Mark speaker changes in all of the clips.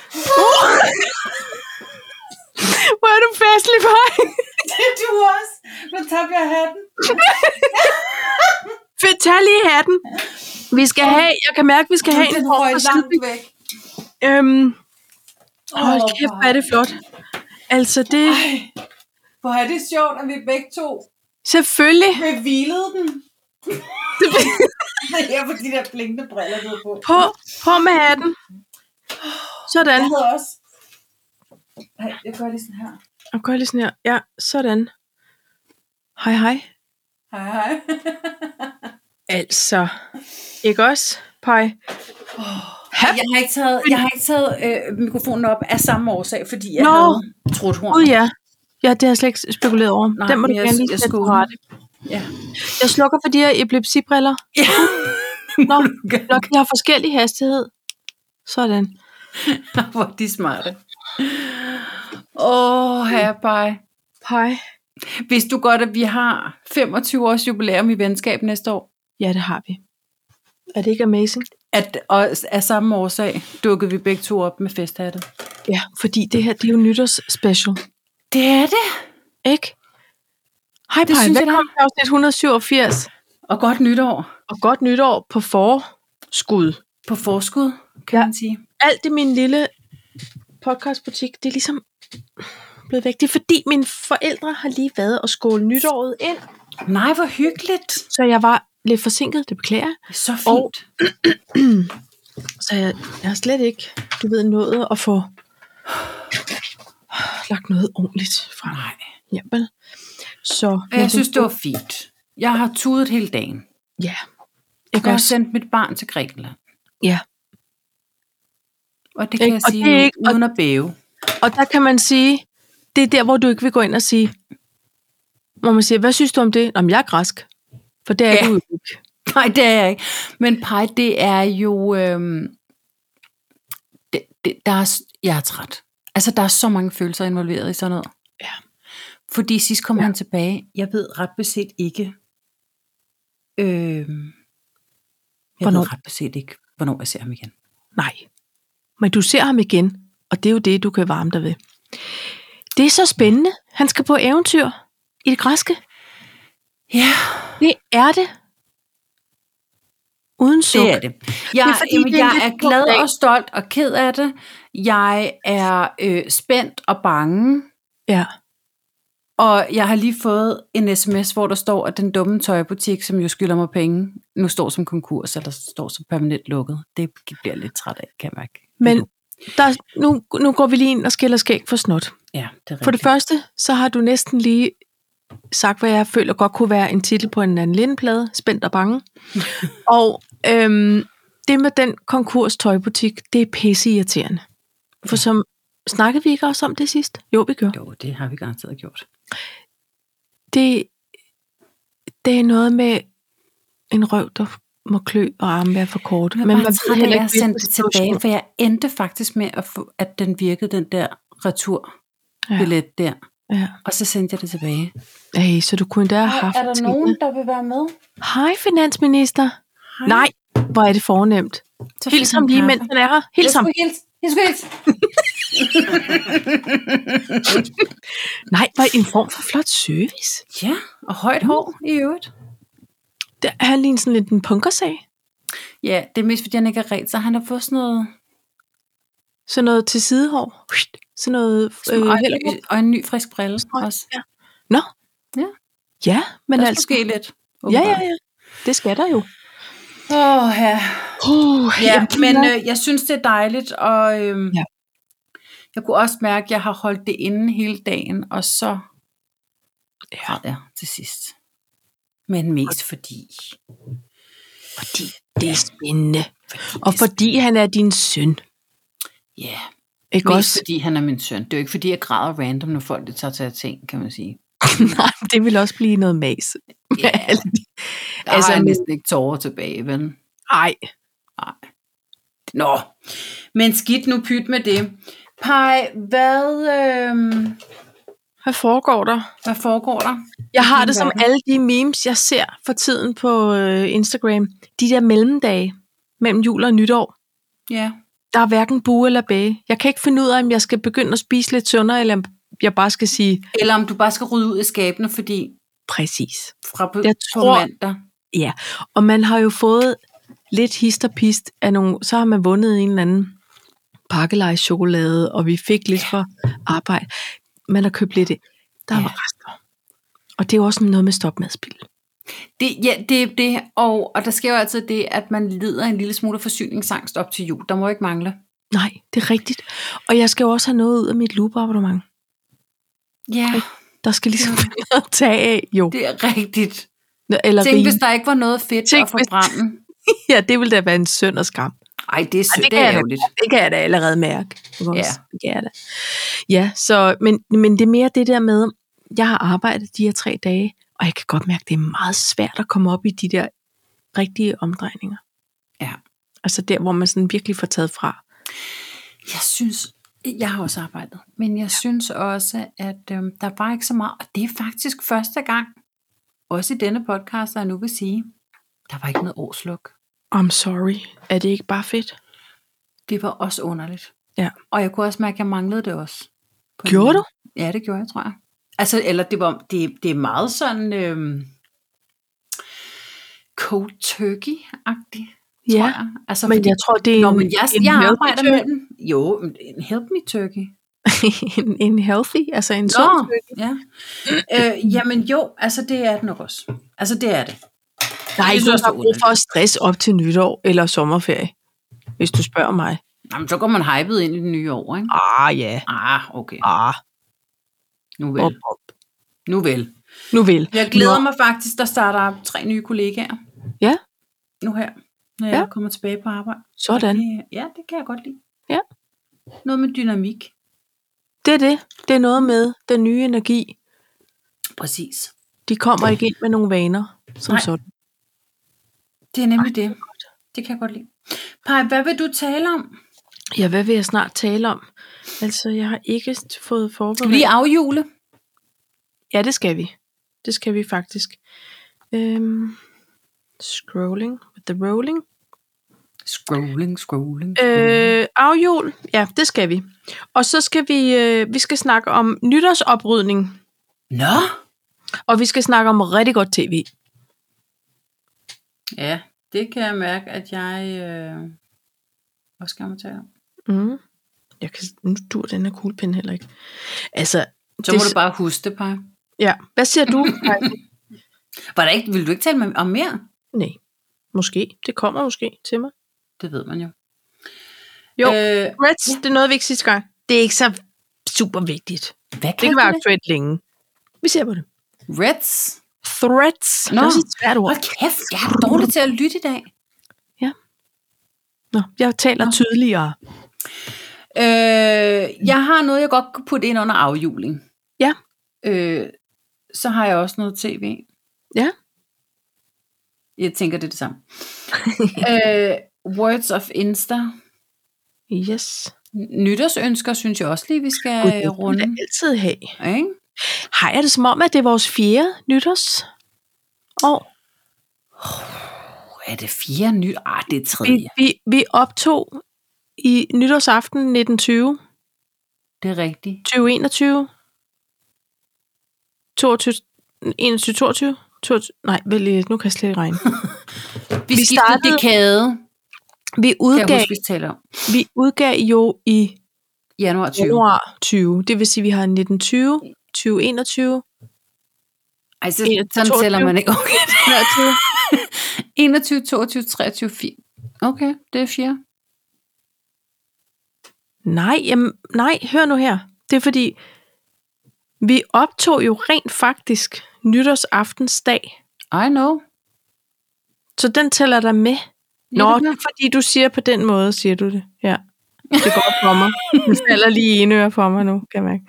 Speaker 1: Vi skal have, jeg kan mærke, at vi skal have en
Speaker 2: Den
Speaker 1: form
Speaker 2: røg
Speaker 1: for
Speaker 2: langt
Speaker 1: slutning.
Speaker 2: væk.
Speaker 1: Øhm, hold
Speaker 2: Åh,
Speaker 1: kæft,
Speaker 2: hvor
Speaker 1: hvor er det flot. Altså, det
Speaker 2: Ej, hvor er det sjovt, at vi begge to
Speaker 1: selvfølgelig
Speaker 2: bevilede den. ja, for de der blinkende briller, du har på.
Speaker 1: på, på med hatten. Sådan.
Speaker 2: Jeg havde også... Nej, jeg gør lige sådan her.
Speaker 1: Og gør lige sådan her. Ja, sådan. Hej, hej.
Speaker 2: Hej, hej.
Speaker 1: Altså, ikke også, Pej?
Speaker 2: Jeg har ikke taget, jeg har ikke taget øh, mikrofonen op af samme årsag, fordi jeg
Speaker 1: Nå.
Speaker 2: Nå. havde trudt horn.
Speaker 1: Gud ja. Ja, det har jeg slet ikke spekuleret over.
Speaker 2: Nej,
Speaker 1: Nej, Den må du
Speaker 2: men jeg-
Speaker 1: gerne lige
Speaker 2: jeg
Speaker 1: sætte på
Speaker 2: skulle-
Speaker 1: rette.
Speaker 2: Ja.
Speaker 1: Jeg slukker for de her epilepsibriller.
Speaker 2: Ja.
Speaker 1: Nå, nok, jeg har forskellig hastighed. Sådan.
Speaker 2: Hvor er de smarte. Åh, oh, herre
Speaker 1: Pej.
Speaker 2: Hvis du godt, at vi har 25 års jubilæum i venskab næste år,
Speaker 1: Ja, det har vi. Er det ikke amazing?
Speaker 2: at, og af samme årsag dukkede vi begge to op med festhatte.
Speaker 1: Ja, fordi det her, det er jo nytårsspecial.
Speaker 2: Det er det.
Speaker 1: Ikke? Hej,
Speaker 2: Det
Speaker 1: Pej.
Speaker 2: synes jeg, det
Speaker 1: Velkommen til afsnit 187.
Speaker 2: Og godt nytår
Speaker 1: Og godt nytår på forskud.
Speaker 2: på forskud, kan
Speaker 1: Ja.
Speaker 2: ja. man sige.
Speaker 1: alt i min lille podcastbutik, det er ligesom blevet væk. Det er fordi, mine forældre har lige været og skåle nytåret ind,
Speaker 2: Nej, hvor hyggeligt.
Speaker 1: så jeg var lidt forsinket, det beklager jeg.
Speaker 2: Så fint. Og,
Speaker 1: Så jeg, jeg har slet ikke, du ved, nået at få lagt noget ordentligt frem.
Speaker 2: Nej.
Speaker 1: Jamen. Så,
Speaker 2: Og jeg synes, det var fint. Jeg har tudet hele dagen.
Speaker 1: Ja, ikke
Speaker 2: Jeg har
Speaker 1: også?
Speaker 2: sendt mit barn til Grækenland.
Speaker 1: Ja.
Speaker 2: Og det kan
Speaker 1: Ikke?
Speaker 2: jeg
Speaker 1: Og
Speaker 2: sige
Speaker 1: det er
Speaker 2: nu,
Speaker 1: ikke- og-
Speaker 2: uden at bæve.
Speaker 1: Og der kan man sige, det er der, hvor du ikke vil gå ind og sige, hvor man siger, hvad synes du om det? Om jeg er græsk. For det er
Speaker 2: Ja.
Speaker 1: ja. du jo ikke.
Speaker 2: Nej, det er jeg ikke. Men pej, det er jo... Øhm, det, det, der er, s- jeg er træt. Altså, der er så mange følelser involveret i sådan noget.
Speaker 1: Ja.
Speaker 2: Fordi sidst kom
Speaker 1: Ja.
Speaker 2: ja. han tilbage. Jeg ved ret beset ikke... Øhm, jeg
Speaker 1: Hvornår?
Speaker 2: ved ret beset ikke, hvornår jeg ser ham igen.
Speaker 1: Nej. Men du ser ham igen, og det er jo det, du kan varme dig ved. Det er så spændende. Han skal på eventyr i det græske.
Speaker 2: Ja,
Speaker 1: Det er det. Uden suk.
Speaker 2: det er det. Jeg, det er,
Speaker 1: fordi,
Speaker 2: fordi, jamen,
Speaker 1: det er en
Speaker 2: jeg
Speaker 1: lidt
Speaker 2: er
Speaker 1: tung dag.
Speaker 2: glad og stolt og ked af det. Jeg er øh, spændt og bange.
Speaker 1: Ja.
Speaker 2: Og jeg har lige fået en sms, hvor der står, at den dumme tøjbutik, som jo skylder mig penge, nu står som konkurs, eller står som permanent lukket. Det bliver jeg lidt træt af, kan jeg mærke.
Speaker 1: Men der, nu, nu går vi lige ind og skiller skæg for snot.
Speaker 2: ja, det er
Speaker 1: For det første, så har du næsten lige sagt, hvad jeg føler godt kunne være en titel på en anden lindeplade, Spændt og Bange. og øhm, det med den konkurs tøjbutik, det er pisse irriterende. For som snakkede vi ikke også om det sidst? Jo, vi gør.
Speaker 2: Jo, det har vi garanteret gjort.
Speaker 1: Det, det er noget med en røv, der må klø og arme være for kort.
Speaker 2: Men man var træt af, at jeg
Speaker 1: hvilken
Speaker 2: sendte det tilbage,
Speaker 1: situation.
Speaker 2: for jeg endte faktisk med, at, få, at den virkede, den der returbillet ja. der.
Speaker 1: Ja.
Speaker 2: Og så sendte jeg det tilbage.
Speaker 1: Ej, så du kunne endda have haft tingene.
Speaker 2: der vil være med?
Speaker 1: Hej, finansminister. Hej. Nej, hvor er det fornemt.
Speaker 2: Så
Speaker 1: Hils ham lige, mens han er her. Hils ham.
Speaker 2: hils. Jeg skulle hils.
Speaker 1: Nej, hvor er en form for flot service.
Speaker 2: Ja, og højt hår i øvrigt.
Speaker 1: Der er han lige sådan lidt en punkersag.
Speaker 2: Ja, det er mest, fordi han ikke er ret, så han har fået sådan noget
Speaker 1: Sådan noget til sidehår. Pst. Sådan noget øh,
Speaker 2: Øh, og,
Speaker 1: Hellerup.
Speaker 2: en, og en ny frisk brille
Speaker 1: Strøg.
Speaker 2: også.
Speaker 1: Ja. Nå.
Speaker 2: Ja.
Speaker 1: Ja, men
Speaker 2: Men der
Speaker 1: altså.
Speaker 2: skulle ske lidt.
Speaker 1: Ja, ja, ja. Det skal der jo.
Speaker 2: Åh, oh, ja.
Speaker 1: Uh,
Speaker 2: ja men øh, jeg synes, det er dejligt, og øhm,
Speaker 1: Ja.
Speaker 2: ja. jeg kunne også mærke, at jeg har holdt det inde hele dagen, og så
Speaker 1: ja,
Speaker 2: græd jeg til sidst. Men mest fordi...
Speaker 1: fordi det er spændende.
Speaker 2: fordi
Speaker 1: Og
Speaker 2: det-
Speaker 1: fordi han øh, er din søn.
Speaker 2: Ja,
Speaker 1: Ikke
Speaker 2: mest
Speaker 1: også?
Speaker 2: fordi han er min søn. Det er jo ikke, fordi jeg græder random, når folk det tager til at ting, kan man sige.
Speaker 1: Nej, det vil også blive noget mas.
Speaker 2: Ja, der altså,
Speaker 1: Altså,
Speaker 2: har jeg
Speaker 1: men-
Speaker 2: næsten ikke tårer tilbage, vel?
Speaker 1: Nej,
Speaker 2: Nå, men skidt nu pyt med det. Pej, hvad, øhm,
Speaker 1: hvad foregår der?
Speaker 2: hvad foregår der?
Speaker 1: Jeg har
Speaker 2: Din
Speaker 1: det som
Speaker 2: verden.
Speaker 1: alle de memes, jeg ser for tiden på øh, Instagram. De der mellemdage mellem jul og nytår.
Speaker 2: Ja.
Speaker 1: Der er hverken bue eller bage. Jeg kan ikke finde ud af, om jeg skal begynde at spise lidt sundere, eller om jeg bare skal sige
Speaker 2: Eller om du bare skal rydde ud af skabene, fordi
Speaker 1: præcis.
Speaker 2: fra på,
Speaker 1: Jeg
Speaker 2: på
Speaker 1: tror-
Speaker 2: mandag.
Speaker 1: Ja, og man har jo fået lidt histerpist af nogle, så har man vundet en eller anden pakkelejschokolade, og vi fik lidt for arbejde. Man har købt lidt ind. Der
Speaker 2: Ja.
Speaker 1: var rester. Og det er jo også noget med stopmadspil.
Speaker 2: Det, ja, det er det, og, og der sker jo altid det, at man lider en lille smule af forsyningsangst op til jul. Der må ikke mangle.
Speaker 1: Nej, det er rigtigt. Og jeg skal jo også have noget ud af mit loop-abonnement.
Speaker 2: Ja,
Speaker 1: Der skal ligesom være noget at tage af, jo.
Speaker 2: det er rigtigt.
Speaker 1: Eller
Speaker 2: Tænk,
Speaker 1: Tænk,
Speaker 2: hvis der ikke var noget fedt
Speaker 1: Tænk,
Speaker 2: at
Speaker 1: hvis-
Speaker 2: forbrænde.
Speaker 1: Ja, det ville da være en synd og skam.
Speaker 2: Ej, det er, sø-
Speaker 1: det
Speaker 2: det
Speaker 1: kan
Speaker 2: er
Speaker 1: jeg da
Speaker 2: ærgerligt.
Speaker 1: Det kan jeg da allerede mærke. ikke også?
Speaker 2: Ja.
Speaker 1: Det kan jeg da. Ja, så, men, men det er mere det der med, jeg har arbejdet de her tre dage, og jeg kan godt mærke, det er meget svært at komme op i de der rigtige omdrejninger.
Speaker 2: Ja.
Speaker 1: Altså der, hvor man sådan virkelig får taget fra.
Speaker 2: Jeg synes, jeg har også arbejdet, men jeg synes også, at øhm, der var ikke så meget, og det er faktisk første gang, også i denne podcast, der jeg nu vil sige, der var ikke noget årsluk.
Speaker 1: I'm sorry. Er det ikke bare fedt?
Speaker 2: Det var også underligt.
Speaker 1: Ja.
Speaker 2: Og jeg kunne også mærke, at jeg manglede det også. På en
Speaker 1: Gjorde
Speaker 2: måde.
Speaker 1: du?
Speaker 2: Ja, det gjorde jeg, tror jeg. Altså, eller det var, det, det er meget sådan øhm, cold turkey-agtigt, tror
Speaker 1: Ja.
Speaker 2: jeg. Altså,
Speaker 1: Men
Speaker 2: fordi-
Speaker 1: jeg tror, det er
Speaker 2: Nå,
Speaker 1: en,
Speaker 2: men jeg,
Speaker 1: en,
Speaker 2: jeg
Speaker 1: healthy
Speaker 2: arbejder
Speaker 1: tur-
Speaker 2: med den. Jo, men en help me turkey.
Speaker 1: en, en healthy, altså en
Speaker 2: Nå,
Speaker 1: sund turkey.
Speaker 2: ja. øh, jamen jo, altså det er den nok også. Altså det er det.
Speaker 1: Der er
Speaker 2: Jeg
Speaker 1: ikke
Speaker 2: synes
Speaker 1: nogen,
Speaker 2: også,
Speaker 1: der
Speaker 2: det
Speaker 1: har
Speaker 2: er
Speaker 1: brug for at stress op til nytår eller sommerferie, hvis du spørger mig.
Speaker 2: Jamen, så går man hypet ind i det nye år, ikke?
Speaker 1: Ah ja,
Speaker 2: Ah, okay.
Speaker 1: ah,
Speaker 2: Nu
Speaker 1: op,
Speaker 2: vel.
Speaker 1: op.
Speaker 2: Nu vel.
Speaker 1: Nu vil.
Speaker 2: Jeg glæder mig faktisk, der starter tre nye kollegaer.
Speaker 1: Ja.
Speaker 2: Nu her, når
Speaker 1: Ja.
Speaker 2: jeg kommer tilbage på arbejde.
Speaker 1: Sådan.
Speaker 2: Det, ja, det kan jeg godt lide.
Speaker 1: Ja.
Speaker 2: Noget med dynamik.
Speaker 1: Det er det. Det er noget med den nye energi.
Speaker 2: Præcis.
Speaker 1: De kommer ikke ind med nogle vaner, som
Speaker 2: Nej.
Speaker 1: sådan.
Speaker 2: Det er nemlig det. Det kan jeg godt lide. Paj, hvad vil du tale om?
Speaker 1: Ja, hvad vil jeg snart tale om? Altså, jeg har ikke fået
Speaker 2: Skal vi
Speaker 1: forberedt.
Speaker 2: lige afjule?
Speaker 1: Ja, det skal vi. Det skal vi faktisk. Øhm, scrolling with the rolling.
Speaker 2: Scrolling, scrolling.
Speaker 1: Øh, afjul. Ja, det skal vi. Og så skal vi, øh, vi skal snakke om nytårsoprydning.
Speaker 2: Nå.
Speaker 1: Og vi skal snakke om rigtig godt tv.
Speaker 2: Ja, det kan jeg mærke, at jeg øh, også skal mig tale om.
Speaker 1: Mm. Jeg kan, nu dur den her kuglepind heller ikke. Altså,
Speaker 2: Så må
Speaker 1: det,
Speaker 2: du bare huske det, Paj.
Speaker 1: ja. hvad siger du? Heidi?
Speaker 2: Var der ikke, vil du ikke tale med, om mere?
Speaker 1: Nej, måske. Det kommer måske til mig.
Speaker 2: Det ved man jo.
Speaker 1: Jo.
Speaker 2: Øh,
Speaker 1: Reds, det nåede vi ikke sidste gang. Det er ikke så super vigtigt.
Speaker 2: hvad
Speaker 1: Det kan være aktuelt længe. Vi ser på det.
Speaker 2: Reds.
Speaker 1: Threats.
Speaker 2: Nå.
Speaker 1: Det er også et svært ord.
Speaker 2: Hold kæft, jeg er dårlig til at lytte i dag.
Speaker 1: Nå, jeg taler
Speaker 2: Nå.
Speaker 1: tydeligere.
Speaker 2: Øh, jeg har noget, jeg godt kunne putte ind under afjuling.
Speaker 1: Ja.
Speaker 2: Øh, så har jeg også noget tv.
Speaker 1: Ja.
Speaker 2: Jeg tænker, det er det samme. øh, words of Insta.
Speaker 1: Yes.
Speaker 2: Nytårsønsker synes jeg også lige, vi skal
Speaker 1: Gud, det
Speaker 2: øh,
Speaker 1: kan vi da
Speaker 2: runde.
Speaker 1: altid have.
Speaker 2: Ikke?
Speaker 1: Har jeg det som om, at det er vores fjerde nytårs? Og
Speaker 2: Er det fire nyt? Ah, det er
Speaker 1: vi,
Speaker 2: tredje.
Speaker 1: vi, vi optog i nytårsaften 1920,
Speaker 2: Det er rigtigt.
Speaker 1: 2021, 22, 21, 22, 22, nej, vel, lige, nu kan jeg slet ikke regne.
Speaker 2: Vi,
Speaker 1: Vi
Speaker 2: vi skiftede
Speaker 1: startede-
Speaker 2: dekade,
Speaker 1: Vi
Speaker 2: kan jeg
Speaker 1: udgav,
Speaker 2: huske, vi taler om.
Speaker 1: vi udgav jo i
Speaker 2: Januar 20.
Speaker 1: januar 20. Det vil sige, vi har 1920, 2021,
Speaker 2: Ej, så,
Speaker 1: En-
Speaker 2: sådan
Speaker 1: 22.
Speaker 2: tæller man ikke. Okay. 21, 22, 23, 4. Okay, det er fjerde.
Speaker 1: Nej, jamen, nej, hør nu her. Det er fordi, vi optog jo rent faktisk nytårsaftensdag.
Speaker 2: I know.
Speaker 1: Så den tæller der med.
Speaker 2: Ja,
Speaker 1: Nå,
Speaker 2: det
Speaker 1: det
Speaker 2: gør
Speaker 1: er fordi, du siger på den måde, siger du det. Ja, det går op for mig. Det falder lige i ene øre for mig nu, kan jeg mærke.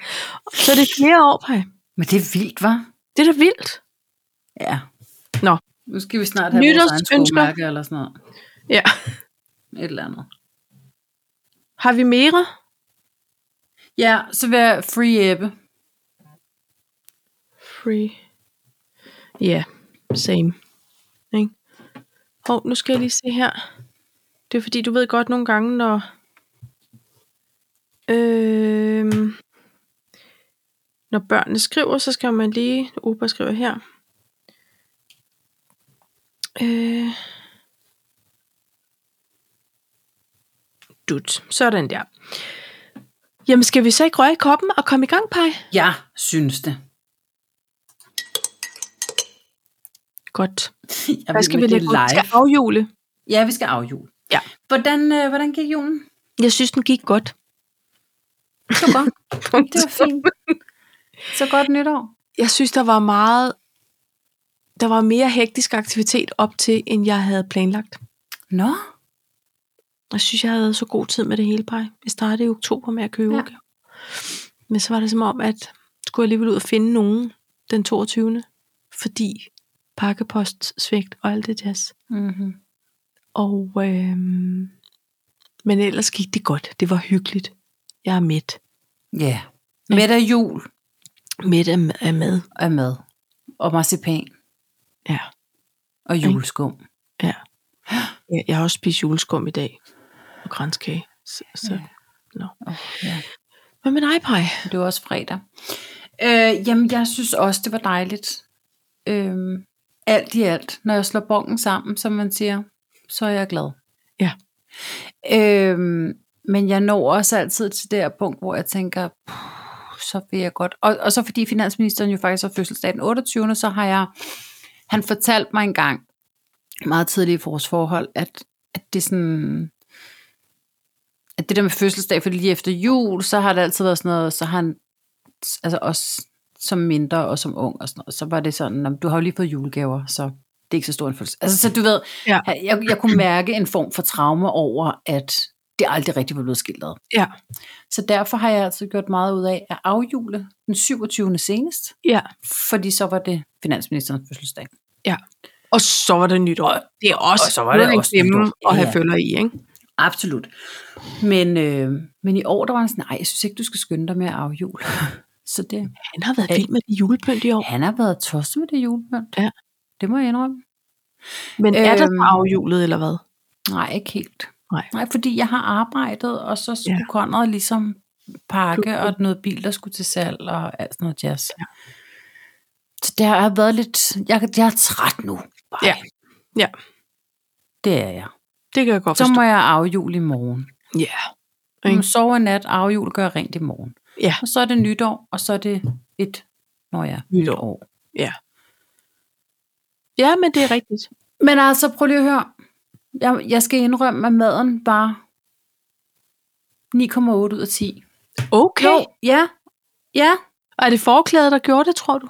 Speaker 1: Så det er flere år, Paj.
Speaker 2: Men det er vildt, var?
Speaker 1: Det er da vildt.
Speaker 2: Ja.
Speaker 1: Nå.
Speaker 2: Nu skal vi snart have vores egen
Speaker 1: Nytårsønsker.
Speaker 2: skomærke eller sådan noget.
Speaker 1: Ja.
Speaker 2: Et eller andet.
Speaker 1: Har vi mere?
Speaker 2: Ja, så vil jeg free Ebbe.
Speaker 1: Free. Ja, same. Ikke? Hov, nu skal jeg lige se her. Det er fordi, du ved godt nogle gange, når... Øhm, når børnene skriver, så skal man lige... Opa skriver her. Øh, Dut. Sådan der. Jamen, skal vi så ikke røre i koppen og komme i gang, Paj?
Speaker 2: Jeg synes det.
Speaker 1: Godt.
Speaker 2: Jeg
Speaker 1: Hvad skal vi lægge ud? Skal
Speaker 2: live.
Speaker 1: afjule?
Speaker 2: Ja, vi skal afjule.
Speaker 1: Ja.
Speaker 2: Hvordan, øh, hvordan gik julen?
Speaker 1: Jeg synes, den gik godt.
Speaker 2: Det var godt. Det var fint. Så godt nytår.
Speaker 1: Jeg synes, der var meget... Der var mere hektisk aktivitet op til, end jeg havde planlagt.
Speaker 2: Nå,
Speaker 1: Jeg synes, jeg havde så god tid med det hele, Paj. Jeg startede i oktober med at købe
Speaker 2: Ja.
Speaker 1: ja. Men så var det som om, at skulle jeg alligevel ud og finde nogen den 22. Fordi pakkepost, svigt og alt det jazz.
Speaker 2: mm-hmm.
Speaker 1: Og, øhm, men ellers gik det godt. Det var hyggeligt. Jeg er mæt.
Speaker 2: Ja. Mæt af jul
Speaker 1: Mæt af, af mad.
Speaker 2: er mad. Og marcipan
Speaker 1: Ja.
Speaker 2: og juleskum.
Speaker 1: ja. Jeg, jeg har også spist juleskum i dag. Og grænskage. Så, så.
Speaker 2: Ja.
Speaker 1: Ja. Nå.
Speaker 2: Oh, ja.
Speaker 1: Hvad med dig, Paj?
Speaker 2: Det var også fredag. Øh, jamen, jeg synes også, det var dejligt. Øh, alt i alt, når jeg slår bongen sammen, som man siger, så er jeg glad.
Speaker 1: Ja.
Speaker 2: Øh, men jeg når også altid til det her punkt, hvor jeg tænker, "Puh, så vil jeg godt. Og, og så fordi finansministeren jo faktisk har fødselsdag den 28., så har jeg, han fortalt mig engang, meget tidligt i vores forhold, at, at det sådan, at det der med fødselsdag, fordi lige efter jul, så har det altid været sådan noget, så har han, altså også som mindre og som ung og sådan noget, så var det sådan, "Nå, men du har jo lige fået julegaver, så det er ikke så stor en følelse. Altså, så du ved,
Speaker 1: Ja.
Speaker 2: jeg, jeg kunne mærke en form for traume over, at det aldrig rigtig var blevet skildret.
Speaker 1: Ja.
Speaker 2: Så derfor har jeg altså gjort meget ud af at afjule den 27. senest,
Speaker 1: Ja.
Speaker 2: fordi så var det finansministerens fødselsdag.
Speaker 1: Og så var det nytår.
Speaker 2: Og-
Speaker 1: det er også,
Speaker 2: og så var det
Speaker 1: noget, man
Speaker 2: også
Speaker 1: glemmer
Speaker 2: nytår.
Speaker 1: at have
Speaker 2: Ja.
Speaker 1: følger i, ikke?
Speaker 2: Absolut. Men, øh, men i år, der var han sådan, nej, jeg synes ikke, du skal skynde dig med at afjul. Så det,
Speaker 1: Han har været
Speaker 2: Ja.
Speaker 1: vild med det julepynt i år.
Speaker 2: han har været tosset med det julepynt.
Speaker 1: Ja.
Speaker 2: Det må jeg indrømme.
Speaker 1: Men er der
Speaker 2: Øhm.
Speaker 1: så afjulet, eller hvad?
Speaker 2: Nej, ikke helt.
Speaker 1: Nej.
Speaker 2: nej fordi jeg har arbejdet, og så skulle
Speaker 1: Ja.
Speaker 2: ja. Conrad ligesom pakke,
Speaker 1: Du-
Speaker 2: og noget bil, der skulle til salg, og alt sådan noget jazz. Ja. Så der har været lidt, jeg, jeg er træt nu. Bare.
Speaker 1: Ja. Ja.
Speaker 2: Det er jeg.
Speaker 1: Det kan jeg godt
Speaker 2: Så
Speaker 1: forstå.
Speaker 2: må jeg afjule i morgen.
Speaker 1: Ja.
Speaker 2: Hun
Speaker 1: Ikke?
Speaker 2: sover i nat, afjul, gør rent i morgen.
Speaker 1: Ja.
Speaker 2: Og så er det nytår, og så er det et, når jeg
Speaker 1: Nytår.
Speaker 2: år.
Speaker 1: Ja, men det er rigtigt.
Speaker 2: Men altså, prøv lige at høre. Jeg, jeg skal indrømme, at maden var 9,8 ud af 10.
Speaker 1: Okay.
Speaker 2: Jo, ja. Ja.
Speaker 1: Og er det forklædet, der gjorde det, tror du?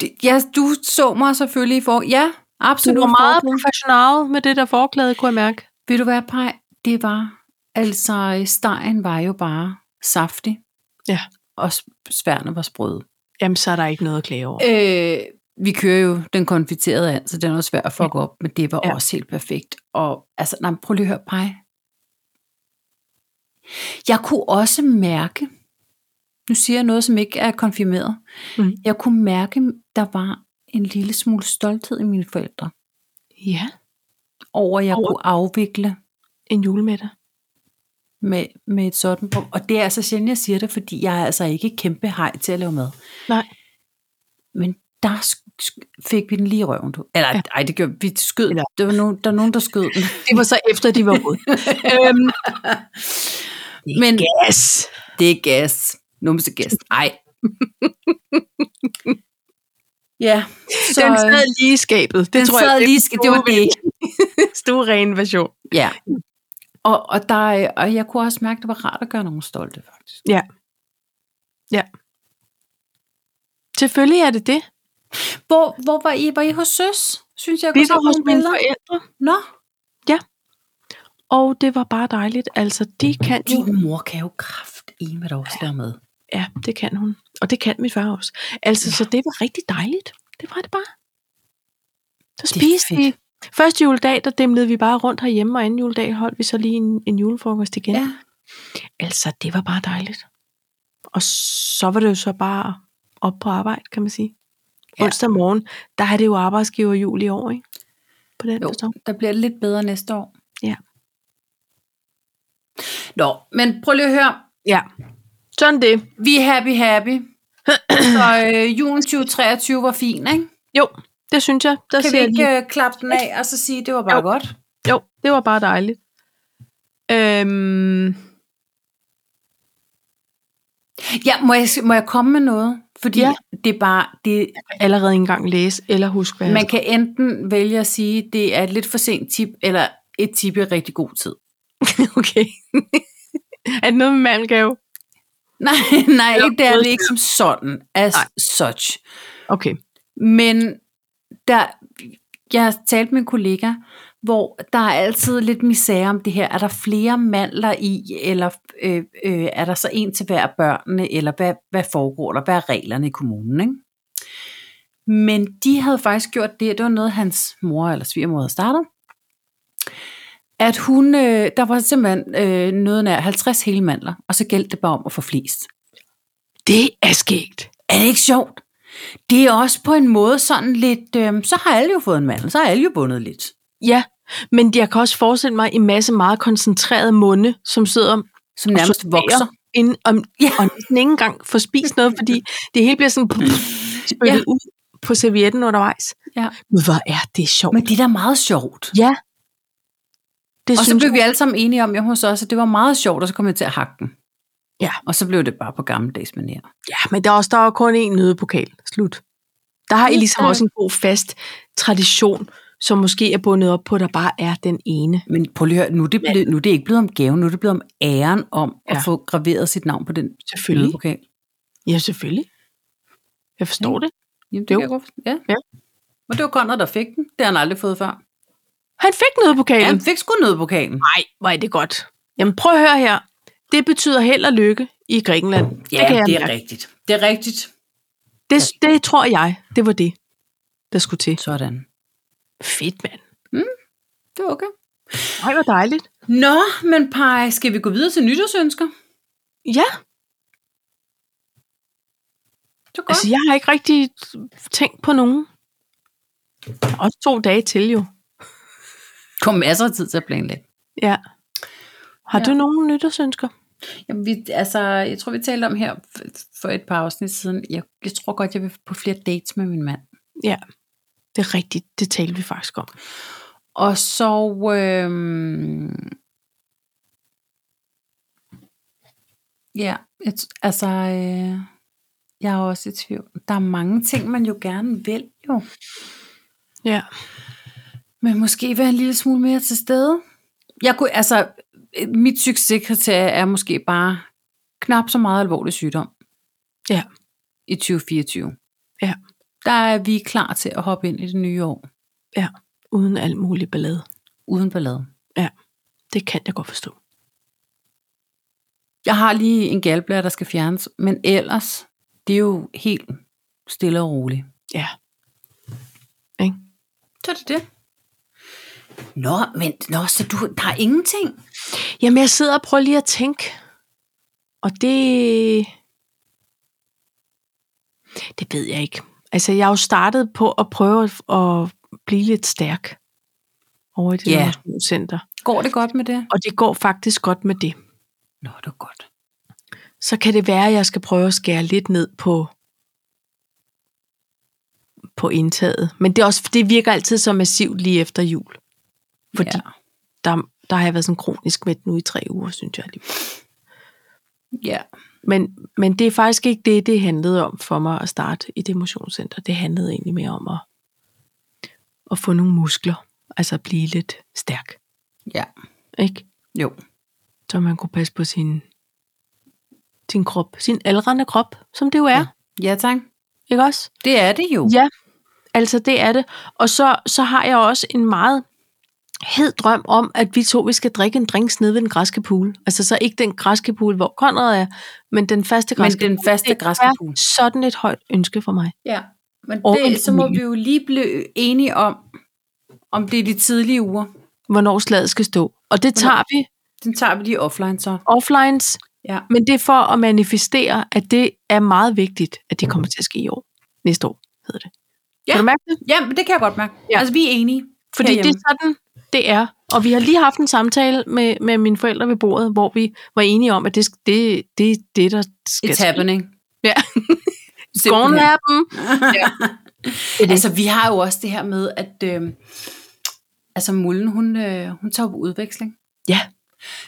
Speaker 2: Det- ja, du så mig selvfølgelig i for. Ja,
Speaker 1: Du
Speaker 2: absolut.
Speaker 1: var meget
Speaker 2: forklæde.
Speaker 1: professional med det der forklæde, kunne jeg mærke.
Speaker 2: Ved du hvad, Paj? Det var, altså, stegen var jo bare saftig.
Speaker 1: Ja.
Speaker 2: Og sp- sværne var sprøde.
Speaker 1: Jamen, så er der ikke noget at klage over.
Speaker 2: Øh, vi kører jo den konfiterede and, så den er også svær at fuck op, men det var ja.
Speaker 1: Ja.
Speaker 2: også helt perfekt. Og altså, nej, men prøv lige at høre, Paj. Jeg kunne også mærke, nu siger jeg noget, som ikke er konfirmeret.
Speaker 1: Mhm.
Speaker 2: Jeg kunne mærke, der var en lille smule stolthed i mine forældre,
Speaker 1: Ja,
Speaker 2: over at jeg
Speaker 1: Over-
Speaker 2: kunne afvikle
Speaker 1: en julemiddag.
Speaker 2: med, med et sådan rum. Og det er altså sjældent, jeg siger det, fordi jeg er altså ikke kæmpe hej til at lave mad.
Speaker 1: Nej.
Speaker 2: Men der sk- sk- fik vi den lige i røven. Du. Eller, ja.
Speaker 1: Ja.
Speaker 2: ej, det gjorde vi. Skød.
Speaker 1: Eller-
Speaker 2: Der var nogen, der, var nogen, der skød den.
Speaker 1: Det var så efter, de var ude. øhm,
Speaker 2: Men
Speaker 1: yes!
Speaker 2: det er gas. Numse gas. Ej. ja. Så,
Speaker 1: Den sad
Speaker 2: øh,
Speaker 1: lige i skabet. Det
Speaker 2: den
Speaker 1: tror
Speaker 2: sad
Speaker 1: jeg,
Speaker 2: lige. sk- Det var det.
Speaker 1: stod ren version.
Speaker 2: Ja. Og, og, der, øh, og jeg kunne også mærke, at det var rart at gøre nogen stolte, faktisk.
Speaker 1: Selvfølgelig er det det.
Speaker 2: Hvor, hvor var I? Var I hos søs? Synes jeg, jeg
Speaker 1: Vi
Speaker 2: kunne se
Speaker 1: var hos
Speaker 2: nogle
Speaker 1: mine
Speaker 2: billeder.
Speaker 1: forældre,
Speaker 2: Nå,
Speaker 1: og det var bare dejligt. Altså, de kan jo
Speaker 2: Din mor kan jo kraft i med også der med.
Speaker 1: Ja, det kan hun. Og det kan mit far også. Altså, ja. så det var rigtig dejligt. Det var det bare. Så
Speaker 2: er
Speaker 1: spiste vi.
Speaker 2: fedt.
Speaker 1: Første juledag, der dimlede vi bare rundt herhjemme, og anden juledag holdt vi så lige en, en julefrokost igen. Ja. Altså, det var bare dejligt. Og så var det jo så bare op på arbejde, kan man sige. Ja.
Speaker 2: Ja.
Speaker 1: Onsdag morgen, der er det jo arbejdsgiver jul i år, ikke? På den
Speaker 2: Jo,
Speaker 1: forstand.
Speaker 2: der bliver det lidt bedre næste år.
Speaker 1: Ja.
Speaker 2: Nå, men prøv lige at høre.
Speaker 1: Ja. Sådan det.
Speaker 2: Vi er happy, happy. Så øh, julen 2023 var fin, ikke?
Speaker 1: Jo, det synes jeg. Der
Speaker 2: Kan vi
Speaker 1: siger
Speaker 2: øh,
Speaker 1: jeg lige-
Speaker 2: ikke øh, klappe den af og så sige, at det var bare
Speaker 1: Jo.
Speaker 2: godt?
Speaker 1: Jo, det var bare dejligt. Øhm,
Speaker 2: Ja, må jeg, må jeg komme med noget? Fordi
Speaker 1: Ja.
Speaker 2: ja. det er bare, det,
Speaker 1: allerede engang læse, eller husk, hvad
Speaker 2: man kan enten vælge at sige, det er et lidt for sent tip, eller et tip i rigtig god tid.
Speaker 1: Okay. er det noget med mandelgave?
Speaker 2: Nej, nej,
Speaker 1: Eller
Speaker 2: ikke det er
Speaker 1: brød.
Speaker 2: det ikke som sådan, as
Speaker 1: Nej.
Speaker 2: nej. such.
Speaker 1: Okay.
Speaker 2: Men der, jeg har talt med en kollega, hvor der er altid lidt misære om det her. Er der flere mandler i, eller øh, øh, er der så en til hver af børnene, eller hvad, hvad foregår der, hvad er reglerne i kommunen, ikke? Men de havde faktisk gjort det, det var noget, hans mor eller svigermor havde startet, at hun, øh, der var simpelthen øh, noget nær 50 hele mandler, og så gældte det bare om at få flest.
Speaker 1: Det er skægt.
Speaker 2: Er det ikke sjovt? Det er også på en måde sådan lidt, øh, så har alle jo fået en mandel, så har alle jo bundet lidt.
Speaker 1: Ja, men jeg kan også forestille mig en masse meget koncentrerede munde, som sidder
Speaker 2: Som nærmest
Speaker 1: sorterer
Speaker 2: vokser.
Speaker 1: ind om, ja.
Speaker 2: Ja.
Speaker 1: og næsten ikke engang får spist noget, fordi det hele bliver sådan spyttet ja. ud på servietten undervejs.
Speaker 2: Ja.
Speaker 1: Men hvor er det sjovt.
Speaker 2: Men det er da meget sjovt.
Speaker 1: Ja. Det
Speaker 2: Og så
Speaker 1: synes
Speaker 2: blev
Speaker 1: jeg.
Speaker 2: vi alle sammen enige om hjemme hos os, at det var meget sjovt, og så kom jeg til at hakke den.
Speaker 1: Ja.
Speaker 2: Og så blev det bare på gammeldags manier.
Speaker 1: Ja, men der er også der er jo kun én nødepokal. Slut. Der har I
Speaker 2: Ja,
Speaker 1: ligesom
Speaker 2: tak.
Speaker 1: også en god fast tradition, som måske er bundet op på, at der bare er den ene.
Speaker 2: Men prøv lige at høre, nu er, det blevet, nu er det ikke blevet om gaven, nu er det blevet om æren om ja.
Speaker 1: Ja.
Speaker 2: at få graveret sit navn på den
Speaker 1: Selvfølgelig.
Speaker 2: nødepokal.
Speaker 1: Ja, selvfølgelig. Jeg forstår det.
Speaker 2: Jamen, det
Speaker 1: Jo.
Speaker 2: kan jeg godt forstå. Ja.
Speaker 1: Ja.
Speaker 2: Og det var Conrad, der fik den. Det har han aldrig fået før.
Speaker 1: Han fik
Speaker 2: Ja,
Speaker 1: nødepokalen.
Speaker 2: han fik sgu nødepokalen.
Speaker 1: Nej, hvor er det godt. Jamen prøv at høre her. Det betyder held og lykke i Grækenland.
Speaker 2: Ja,
Speaker 1: det kan jeg
Speaker 2: det er
Speaker 1: mærke.
Speaker 2: rigtigt. Det er rigtigt.
Speaker 1: Det, det tror jeg, det var det, der skulle til.
Speaker 2: Sådan.
Speaker 1: Fedt, mand.
Speaker 2: Det er okay.
Speaker 1: Nej, hvor dejligt.
Speaker 2: Nå, men Paj, skal vi gå videre til nytårsønsker?
Speaker 1: Ja,
Speaker 2: Så godt.
Speaker 1: altså jeg har ikke rigtig tænkt på nogen. Der er også to dage til jo.
Speaker 2: kom masser af tid til at planlægge.
Speaker 1: Ja. Har ja.
Speaker 2: Ja.
Speaker 1: du nogen nytårsønsker?
Speaker 2: Jamen, vi, altså, jeg tror, vi talte om her f- for et par afsnit siden. Jeg, jeg tror godt, jeg vil på flere dates med min mand.
Speaker 1: Ja, det er rigtigt. Det talte vi faktisk om.
Speaker 2: Og så... Øhm, ja, jeg, t- altså... Øh, jeg er også i tvivl. Der er mange ting, man jo gerne vil, jo.
Speaker 1: Ja.
Speaker 2: Men måske være en lille smule mere til stede. Jeg kunne, altså, øh, mit succeskriterie er måske bare knap så meget alvorlig sygdom.
Speaker 1: Ja.
Speaker 2: I 2024.
Speaker 1: Ja.
Speaker 2: Der er vi klar til at hoppe ind i det nye år,
Speaker 1: Ja, uden alt muligt ballade.
Speaker 2: uden ballade.
Speaker 1: Det kan jeg godt forstå.
Speaker 2: Jeg har lige en galblære, der skal fjernes, men ellers, det er jo helt stille og roligt.
Speaker 1: Ja. Ikke?
Speaker 2: Så er det det. Nå, men nå, så du, der er ingenting.
Speaker 1: Jamen, jeg sidder og prøver lige at tænke. Og det... Det ved jeg ikke. Altså, jeg har jo startet på at prøve at, at blive lidt stærk over i det
Speaker 2: Ja.
Speaker 1: yeah. center.
Speaker 2: Går det godt med det?
Speaker 1: Og det går faktisk godt med det.
Speaker 2: Nå, det er godt.
Speaker 1: Så kan det være, at jeg skal prøve at skære lidt ned på på indtaget. Men det, er også, det virker altid så massivt lige efter jul. Fordi
Speaker 2: Ja.
Speaker 1: der, der har jeg været sådan kronisk med nu i tre uger, synes jeg.
Speaker 2: ja.
Speaker 1: Men, men det er faktisk ikke det, det handlede om for mig at starte i det motionscenter. Det handlede egentlig mere om at, at få nogle muskler. Altså at blive lidt stærk.
Speaker 2: Ja.
Speaker 1: Ikke?
Speaker 2: Jo.
Speaker 1: Så man kunne passe på sin, sin krop. Sin aldrende krop, som det jo er. Ja.
Speaker 2: Ja, tak.
Speaker 1: Ikke også?
Speaker 2: Det er det jo.
Speaker 1: Ja, altså det er det. Og så, så har jeg også en meget hed drøm om, at vi to vi skal drikke en drinks nede ved den græske pool. Altså så ikke den græske pool, hvor Konrad er, men den faste
Speaker 2: Men
Speaker 1: græske
Speaker 2: den faste
Speaker 1: Det er
Speaker 2: græske pool.
Speaker 1: sådan et højt ønske for mig.
Speaker 2: Ja, men
Speaker 1: Og en
Speaker 2: det, så må
Speaker 1: familie.
Speaker 2: vi jo lige blive enige om, om det er de tidlige uger.
Speaker 1: Hvornår slaget skal stå. Og det tager vi
Speaker 2: Den tager vi lige offline så.
Speaker 1: offlines,
Speaker 2: Ja.
Speaker 1: men det er for at manifestere, at det er meget vigtigt, at det kommer til at ske i år. Næste år hedder det.
Speaker 2: Ja.
Speaker 1: Kan du mærke det?
Speaker 2: ja, men det kan jeg godt mærke.
Speaker 1: Ja.
Speaker 2: Ja. Altså, vi er enige.
Speaker 1: Fordi
Speaker 2: herhjemme.
Speaker 1: det er sådan, det er. Og vi har lige haft en samtale med, med mine forældre ved bordet, hvor vi var enige om, at det, det, det er det, der skal
Speaker 2: It's happening.
Speaker 1: Ja.
Speaker 2: Simpelthen.
Speaker 1: Gone happen.
Speaker 2: Det er det. Altså, vi har jo også det her øhm, med, at øh, altså, Mullen, hun, øh, hun tager på udveksling.
Speaker 1: Ja.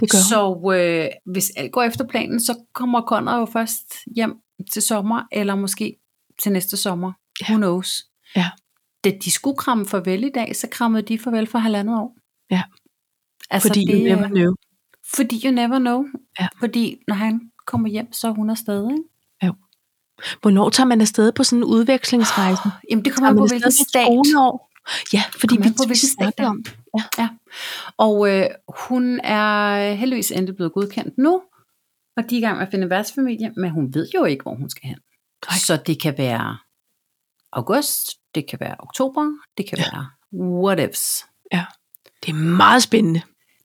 Speaker 1: Det gør så.
Speaker 2: Så øh, hvis alt går efter planen, så kommer Conrad jo først hjem til sommer, eller måske til næste sommer. Ja.
Speaker 1: Ja.
Speaker 2: Who knows?
Speaker 1: Ja.
Speaker 2: Da de skulle kramme farvel i dag, så krammede de farvel for halvandet år.
Speaker 1: Ja.
Speaker 2: Altså
Speaker 1: Fordi
Speaker 2: Fordi,
Speaker 1: det,
Speaker 2: det,
Speaker 1: you never
Speaker 2: know.
Speaker 1: know.
Speaker 2: Fordi you never know.
Speaker 1: Ja.
Speaker 2: Fordi når han kommer hjem, så er hun afsted, ikke?
Speaker 1: Hvornår tager man afsted på sådan en udvekslingsrejse?
Speaker 2: Jamen det Ah, kommer
Speaker 1: Tager man
Speaker 2: an på,
Speaker 1: afsted
Speaker 2: hvilken
Speaker 1: med et
Speaker 2: stat.
Speaker 1: skoleår? Ja, fordi
Speaker 2: Kommer
Speaker 1: vi,
Speaker 2: an på,
Speaker 1: vi
Speaker 2: hvilken stat
Speaker 1: snakkede
Speaker 2: det er.
Speaker 1: om det.
Speaker 2: Og øh, hun er heldigvis endelig blevet godkendt nu, og de er i gang med at finde værtsfamilie, men hun ved jo ikke, hvor hun skal hen.
Speaker 1: Nej.
Speaker 2: Så det kan være august, det kan være oktober, det kan ja. være whatevs.
Speaker 1: Det er meget spændende.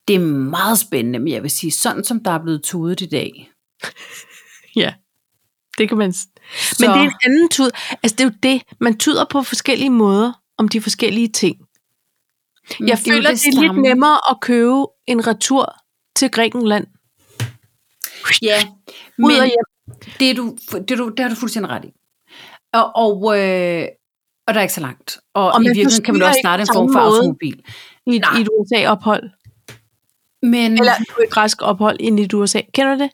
Speaker 2: Det er meget spændende, men jeg vil sige, sådan som der er blevet tudet i dag.
Speaker 1: Ja, det kan man... s-
Speaker 2: Så, mm,
Speaker 1: Men det er en anden tud. Altså, det er jo det. Man tyder på forskellige måder om de forskellige ting.
Speaker 2: men
Speaker 1: Jeg
Speaker 2: Mm, jo
Speaker 1: føler, det er lidt
Speaker 2: samme.
Speaker 1: nemmere at købe en retur til Grækenland.
Speaker 2: Ja,
Speaker 1: Ud og
Speaker 2: men
Speaker 1: hjem.
Speaker 2: det, er du, det, er du, det har du fuldstændig ret i. Og, og, øh, og der er ikke så langt. Og,
Speaker 1: Og
Speaker 2: og i
Speaker 1: man
Speaker 2: virkeligheden kan man
Speaker 1: forstyrrer
Speaker 2: også
Speaker 1: ikke
Speaker 2: starte en
Speaker 1: på
Speaker 2: form for
Speaker 1: samme måde.
Speaker 2: automobil.
Speaker 1: I et, i et USA-ophold.
Speaker 2: Men,
Speaker 1: Eller på et græsk ophold ind i et USA. Kender du det?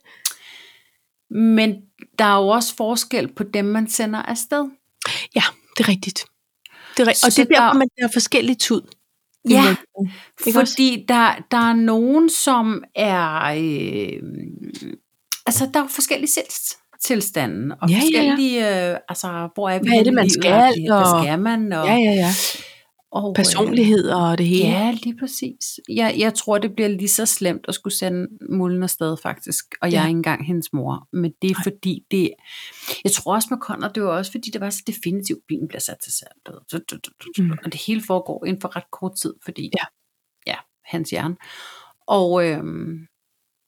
Speaker 2: Men der er jo også forskel på dem, man sender afsted.
Speaker 1: Ja, det er rigtigt. Det er rigtigt. Og
Speaker 2: Så
Speaker 1: det er derfor,
Speaker 2: der-
Speaker 1: man har forskellige tud.
Speaker 2: Ja,
Speaker 1: Ikke også?
Speaker 2: Fordi der, der er nogen, som er... Øh, altså, der er jo forskellige tilstande og
Speaker 1: Ja,
Speaker 2: ja,
Speaker 1: ja, ja.
Speaker 2: forskellige... Ja, ja. Øh, altså, hvor er vi
Speaker 1: Hvad er
Speaker 2: henne
Speaker 1: det,
Speaker 2: i
Speaker 1: man
Speaker 2: livet,
Speaker 1: skal,
Speaker 2: og Hvad
Speaker 1: og-
Speaker 2: skal man? Og,
Speaker 1: Ja, ja, ja.
Speaker 2: og, øh,
Speaker 1: Personlighed og det hele.
Speaker 2: Ja, lige præcis. Jeg, jeg tror, det bliver lige så slemt at skulle sende mulden afsted, faktisk. Og jeg
Speaker 1: Ja.
Speaker 2: er ikke engang hendes mor. Men det er
Speaker 1: Nej.
Speaker 2: fordi, det... Jeg tror også med Conrad, det var også fordi, det var så definitivt, bilen bliver sat til salg. Du, du, du, du,
Speaker 1: Mm.
Speaker 2: du. Og det hele foregår inden for ret kort tid, fordi...
Speaker 1: Ja.
Speaker 2: Ja, hans hjerne. Og øhm,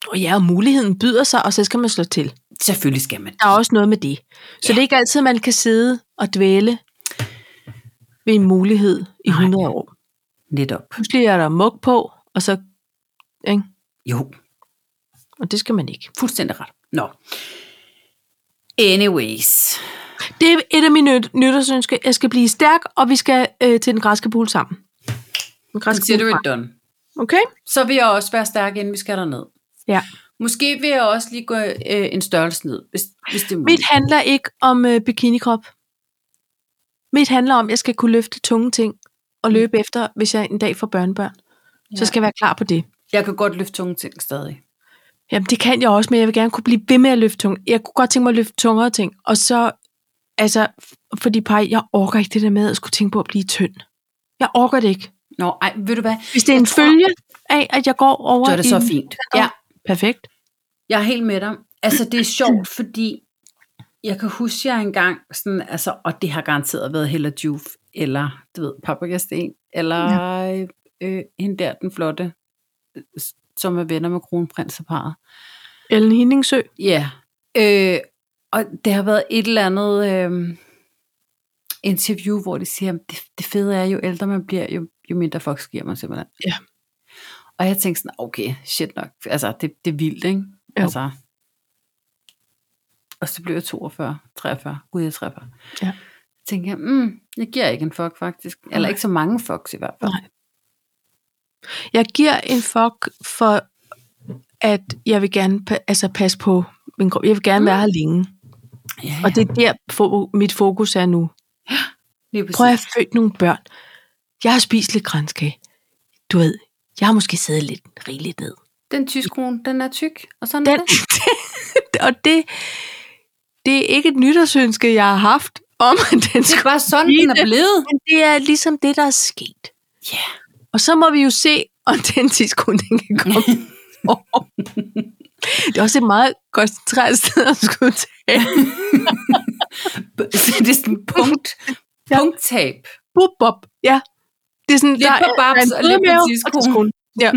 Speaker 1: Og ja, og muligheden byder sig, og så skal man slå til.
Speaker 2: selvfølgelig skal man.
Speaker 1: Der er også noget med det. Så ja.
Speaker 2: Ja.
Speaker 1: det er ikke altid, man kan sidde og dvæle ved en mulighed i
Speaker 2: Nej.
Speaker 1: 100 år.
Speaker 2: Netop.
Speaker 1: Pludselig er der mug på, og så... Ikke?
Speaker 2: Jo,
Speaker 1: Og det skal man ikke.
Speaker 2: fuldstændig ret. Nå. Anyways.
Speaker 1: Det er et af mine nyt- nytårsønsker. Jeg skal blive stærk, og vi skal øh, til den græske pool sammen. Den græske
Speaker 2: Consider
Speaker 1: pool.
Speaker 2: it done.
Speaker 1: Okay?
Speaker 2: så vil jeg også være stærk, inden vi skal derned.
Speaker 1: Ja.
Speaker 2: Måske vil jeg også lige gå øh, en størrelse ned, hvis, hvis det er
Speaker 1: Mit
Speaker 2: muligt.
Speaker 1: handler ikke om øh, bikinikrop. Mit handler om, at jeg skal kunne løfte tunge ting og løbe efter, hvis jeg en dag får børnebørn. Ja. Så
Speaker 2: Mm. Ja.
Speaker 1: skal jeg være klar på det.
Speaker 2: Jeg kan godt løfte tunge ting stadig.
Speaker 1: Jamen, det kan jeg også, men jeg vil gerne kunne blive ved med at løfte tunge. Jeg kunne godt tænke mig at løfte tungere ting. Og så, altså, f- fordi par, jeg orker ikke det der med at skulle tænke på at blive tynd. Jeg orker det ikke.
Speaker 2: Nå, ej, ved du hvad?
Speaker 1: Hvis det er en
Speaker 2: tror-
Speaker 1: følge af, at jeg går over
Speaker 2: Så er det
Speaker 1: i
Speaker 2: så
Speaker 1: den-
Speaker 2: fint. Ja,
Speaker 1: Perfekt.
Speaker 2: jeg er helt med dig. Altså, det er sjovt, fordi jeg kan huske, jeg engang sådan, altså, og det har garanteret været Hella Juf, eller, du ved, Paprikasten, eller ja. øh, hende der, den flotte, øh, s- som er venner med kronprinseparet.
Speaker 1: Ellen Hindingsø.
Speaker 2: Ja. Øh, og det har været et eller andet øh, interview, hvor de siger, at det, det fede er, jo ældre man bliver, jo, jo mindre folk giver man simpelthen.
Speaker 1: Ja.
Speaker 2: Og jeg tænkte sådan, okay, shit nok. Altså, det, det er vildt, ikke?
Speaker 1: Jo.
Speaker 2: Altså. Og så blev jeg 42, 43. Gud, jeg er 43.
Speaker 1: Ja.
Speaker 2: Tænkte jeg, mm, jeg giver ikke en fuck, faktisk. Eller
Speaker 1: Nej.
Speaker 2: ikke så mange fucks i hvert fald.
Speaker 1: Nej. Jeg giver en fuck for, at jeg vil gerne pa- altså, passe på min krop. Jeg vil gerne mm.
Speaker 2: Mm.
Speaker 1: være her længe.
Speaker 2: Ja,
Speaker 1: Og det er der, fo- mit fokus er nu.
Speaker 2: lige
Speaker 1: Prøv at
Speaker 2: præcis.
Speaker 1: have født nogle børn. Jeg har spist lidt kranskage. Du ved, jeg har måske siddet lidt rigeligt ned.
Speaker 2: Den tysk krone, den er tyk, og sådan er
Speaker 1: Den,
Speaker 2: det.
Speaker 1: og det, det er ikke et nytårsønske, jeg har haft om, at den
Speaker 2: Det er
Speaker 1: skulle...
Speaker 2: bare sådan, den er
Speaker 1: Lige-
Speaker 2: blevet.
Speaker 1: Men det er ligesom det, der er sket.
Speaker 2: Ja.
Speaker 1: Og så må vi jo se, om den tidskunding kan komme. over. det er også et meget koncentreret sted at skulle tale.
Speaker 2: Så det er sådan punkt,
Speaker 1: Ja.
Speaker 2: punktab.
Speaker 1: Bup, bop. Ja. Det er sådan,
Speaker 2: Lidt på babs og lidt på tidskone.
Speaker 1: tidskone. Ja.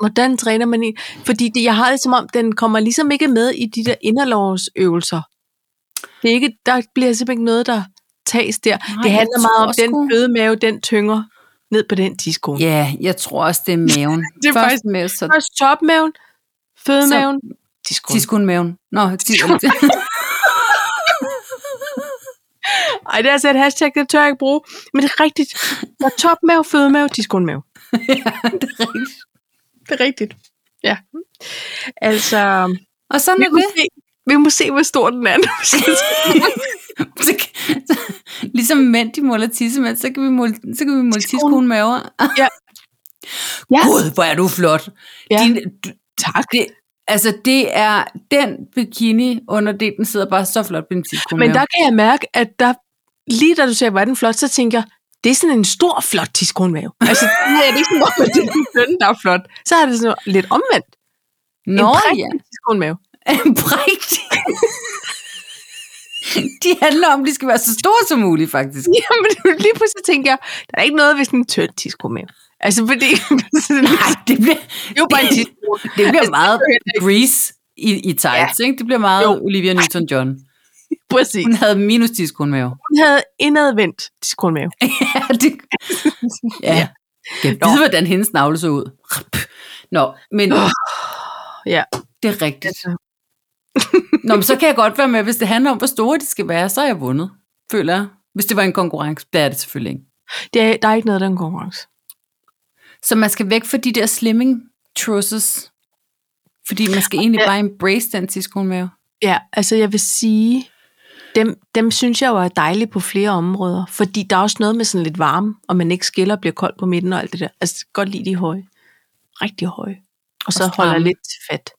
Speaker 1: Hvordan træner man en? Fordi det, jeg har det som om, den kommer ligesom ikke med i de der inderlovsøvelser. Det er ikke, der bliver simpelthen ikke noget, der tages der. Nej, det
Speaker 2: jeg
Speaker 1: handler meget om,
Speaker 2: tror sgu-
Speaker 1: den bløde mave, den tynger ned på den tidskone. Ja.
Speaker 2: Ja, jeg tror også, det er maven.
Speaker 1: Det er
Speaker 2: Først
Speaker 1: faktisk-
Speaker 2: med, så
Speaker 1: Først topmaven, fødemaven, tidskone.
Speaker 2: tidskone maven. Nå, tidskone.
Speaker 1: Ej, det er altså et hashtag, det tør jeg ikke bruge. Men det er rigtigt. Der er topmave, fødemave, tidskundmave.
Speaker 2: det er rigtigt.
Speaker 1: Det er rigtigt. Ja. Altså,
Speaker 2: Og sådan
Speaker 1: vi
Speaker 2: er
Speaker 1: må,
Speaker 2: det.
Speaker 1: se, vi må se, hvor stor den er. når vi skal til-
Speaker 2: Så kan- så- ligesom mænd, de måler tissemænd, så kan vi måle, så kan vi måle tissekone maver.
Speaker 1: Ja. Ja.
Speaker 2: Gud, hvor er du flot.
Speaker 1: Ja.
Speaker 2: Din, du,
Speaker 1: tak.
Speaker 2: det, altså, det er den bikini underdelen sidder bare så flot på din tissekone
Speaker 1: Men der kan jeg mærke, at der, lige da du sagde, hvor er den flot, så tænker jeg, det er sådan en stor, flot tiskronmave. Altså, nej, det er ikke sådan, om, at det er din søn, der er flot. Så er det sådan lidt omvendt.
Speaker 2: Nå,
Speaker 1: en
Speaker 2: ja.
Speaker 1: prægtig tiskronmave.
Speaker 2: En prik. de handler om, at de skal være så store som muligt, faktisk.
Speaker 1: Jamen, lige pludselig tænker jeg, der er ikke noget ved sådan en tynd tiskronmave. Altså, fordi
Speaker 2: Nej, det bliver,
Speaker 1: det er jo bare en tiskrone.
Speaker 2: det bliver meget
Speaker 1: det er heller
Speaker 2: Grease i, i tights, ikke? Det bliver meget
Speaker 1: Jo.
Speaker 2: Olivia Newton-John.
Speaker 1: Præcis.
Speaker 2: Hun havde minus tissekone
Speaker 1: Hun havde indadvendt tiskronmave.
Speaker 2: Ja, det... ja. Jeg ved, hvordan hendes navle så ud. Nå, men
Speaker 1: Ja.
Speaker 2: det er rigtigt.
Speaker 1: Altså,
Speaker 2: Nå, men så kan jeg godt være med, hvis det handler om, hvor store de skal være, så er jeg vundet, føler jeg. Hvis det var en konkurrence, det er det selvfølgelig ikke.
Speaker 1: Det er, der er ikke noget, der er en konkurrence.
Speaker 2: Så man skal væk fra de der slimming trusses, fordi man skal egentlig
Speaker 1: Ja.
Speaker 2: bare embrace den tiskonmave.
Speaker 1: Ja, altså jeg vil sige, dem, dem synes jeg jo er dejlige på flere områder, fordi der er også noget med sådan lidt varme, og man ikke skiller og bliver kold på midten og alt det der. Altså jeg kan godt lide de høje. Rigtig høje. Og så
Speaker 2: Og
Speaker 1: og holder
Speaker 2: stramme.
Speaker 1: lidt fat.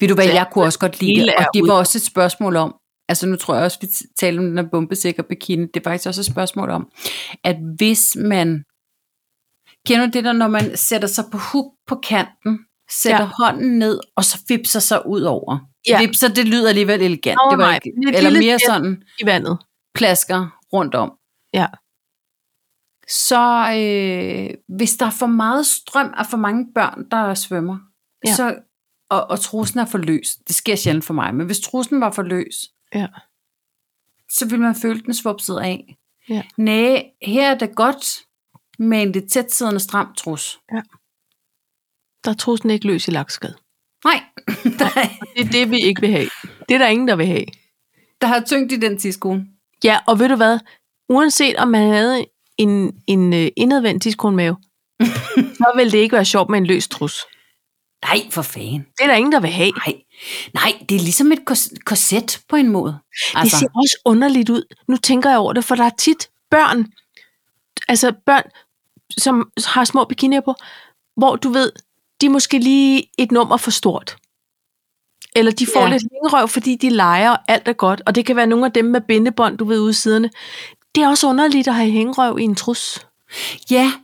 Speaker 2: Ved du hvad,
Speaker 1: Så
Speaker 2: jeg kunne også godt lide
Speaker 1: hele
Speaker 2: det, og
Speaker 1: er
Speaker 2: det
Speaker 1: ud.
Speaker 2: var også et spørgsmål om, altså nu tror jeg også, vi taler om den her bombesikker bikini, det er faktisk også et spørgsmål om, at hvis man, kender du det der, når man sætter sig på huk på kanten, sætter ja.
Speaker 1: Ja.
Speaker 2: hånden ned, og så vipser sig ud over. Ja.
Speaker 1: Ja.
Speaker 2: Vipser, det lyder alligevel elegant.
Speaker 1: Nå,
Speaker 2: det var
Speaker 1: nej,
Speaker 2: ikke,
Speaker 1: men et
Speaker 2: eller
Speaker 1: lille
Speaker 2: mere
Speaker 1: tæt.
Speaker 2: sådan,
Speaker 1: I vandet.
Speaker 2: plasker rundt om.
Speaker 1: Ja.
Speaker 2: Så øh, hvis der er for meget strøm af for mange børn, der svømmer, ja.
Speaker 1: Ja.
Speaker 2: så, og, og trusen er for løs, det sker sjældent for mig, men hvis trusen var for løs,
Speaker 1: Ja.
Speaker 2: så ville man føle den svupset af.
Speaker 1: Ja.
Speaker 2: Næh, her er det godt med en lidt tæt siddende stram trus.
Speaker 1: Der er trusen ikke løs i lakskad.
Speaker 2: Nej, der, er-
Speaker 1: Det er det, vi ikke vil have. Det er der ingen, der vil have.
Speaker 2: der har tyngde i den tidskone.
Speaker 1: Ja, og ved du hvad? Uanset om man havde en, en øh, indadvendt diskonmave, så ville det ikke være sjovt med en løs trus.
Speaker 2: Nej, for fanden.
Speaker 1: Det er der ingen, der vil have.
Speaker 2: Nej. Nej, det er ligesom et kors- korset på en måde. Altså,
Speaker 1: Det ser også underligt ud. Nu tænker jeg over det, for der er tit børn, altså børn, som har små bikinier på, hvor du ved, de er måske lige et nummer for stort. Eller de får
Speaker 2: Ja.
Speaker 1: ja. lidt længerøv, fordi de leger, og alt er godt. Og det kan være nogle af dem med bindebånd, du ved, ude i siderne. Det er også underligt at have hængerøv i en trus.
Speaker 2: Ja,
Speaker 1: Er det,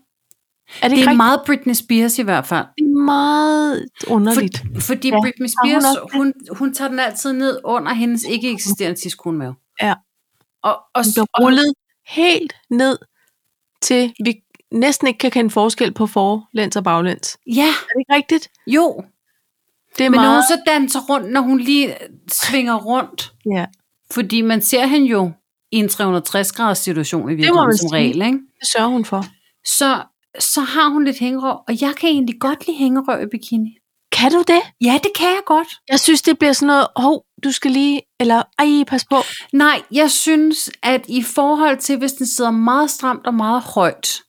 Speaker 2: det
Speaker 1: ikke
Speaker 2: er
Speaker 1: rigtig
Speaker 2: meget Britney Spears i hvert fald.
Speaker 1: meget, meget underligt? For...
Speaker 2: For, fordi ja,
Speaker 1: Ja,
Speaker 2: Britney
Speaker 1: har hun
Speaker 2: Spears,
Speaker 1: også
Speaker 2: hun, hun, hun tager den altid ned under hendes ikke eksisterende tiskonmave.
Speaker 1: Ja.
Speaker 2: Og, og,
Speaker 1: Den bliver
Speaker 2: og,
Speaker 1: rullet helt ned til, vi næsten ikke kan kende forskel på forlæns og baglæns.
Speaker 2: ja,
Speaker 1: Er det ikke rigtigt?
Speaker 2: jo.
Speaker 1: Det er
Speaker 2: Men når hun
Speaker 1: meget...
Speaker 2: så danser rundt, når hun lige svinger rundt,
Speaker 1: Ja.
Speaker 2: fordi man ser hende jo i en 360-graders situation i virkeligheden
Speaker 1: man
Speaker 2: som
Speaker 1: sige.
Speaker 2: regel, ikke?
Speaker 1: Det sørger hun for.
Speaker 2: Så, så har hun lidt hængerøv, og jeg kan egentlig godt lide hængerøv i bikini.
Speaker 1: Kan du det?
Speaker 2: Ja, det kan jeg godt.
Speaker 1: Jeg synes, det bliver sådan noget, hov, du skal lige, eller ej, pas på.
Speaker 2: Nej, jeg synes, at i forhold til, hvis den sidder meget stramt og meget højt,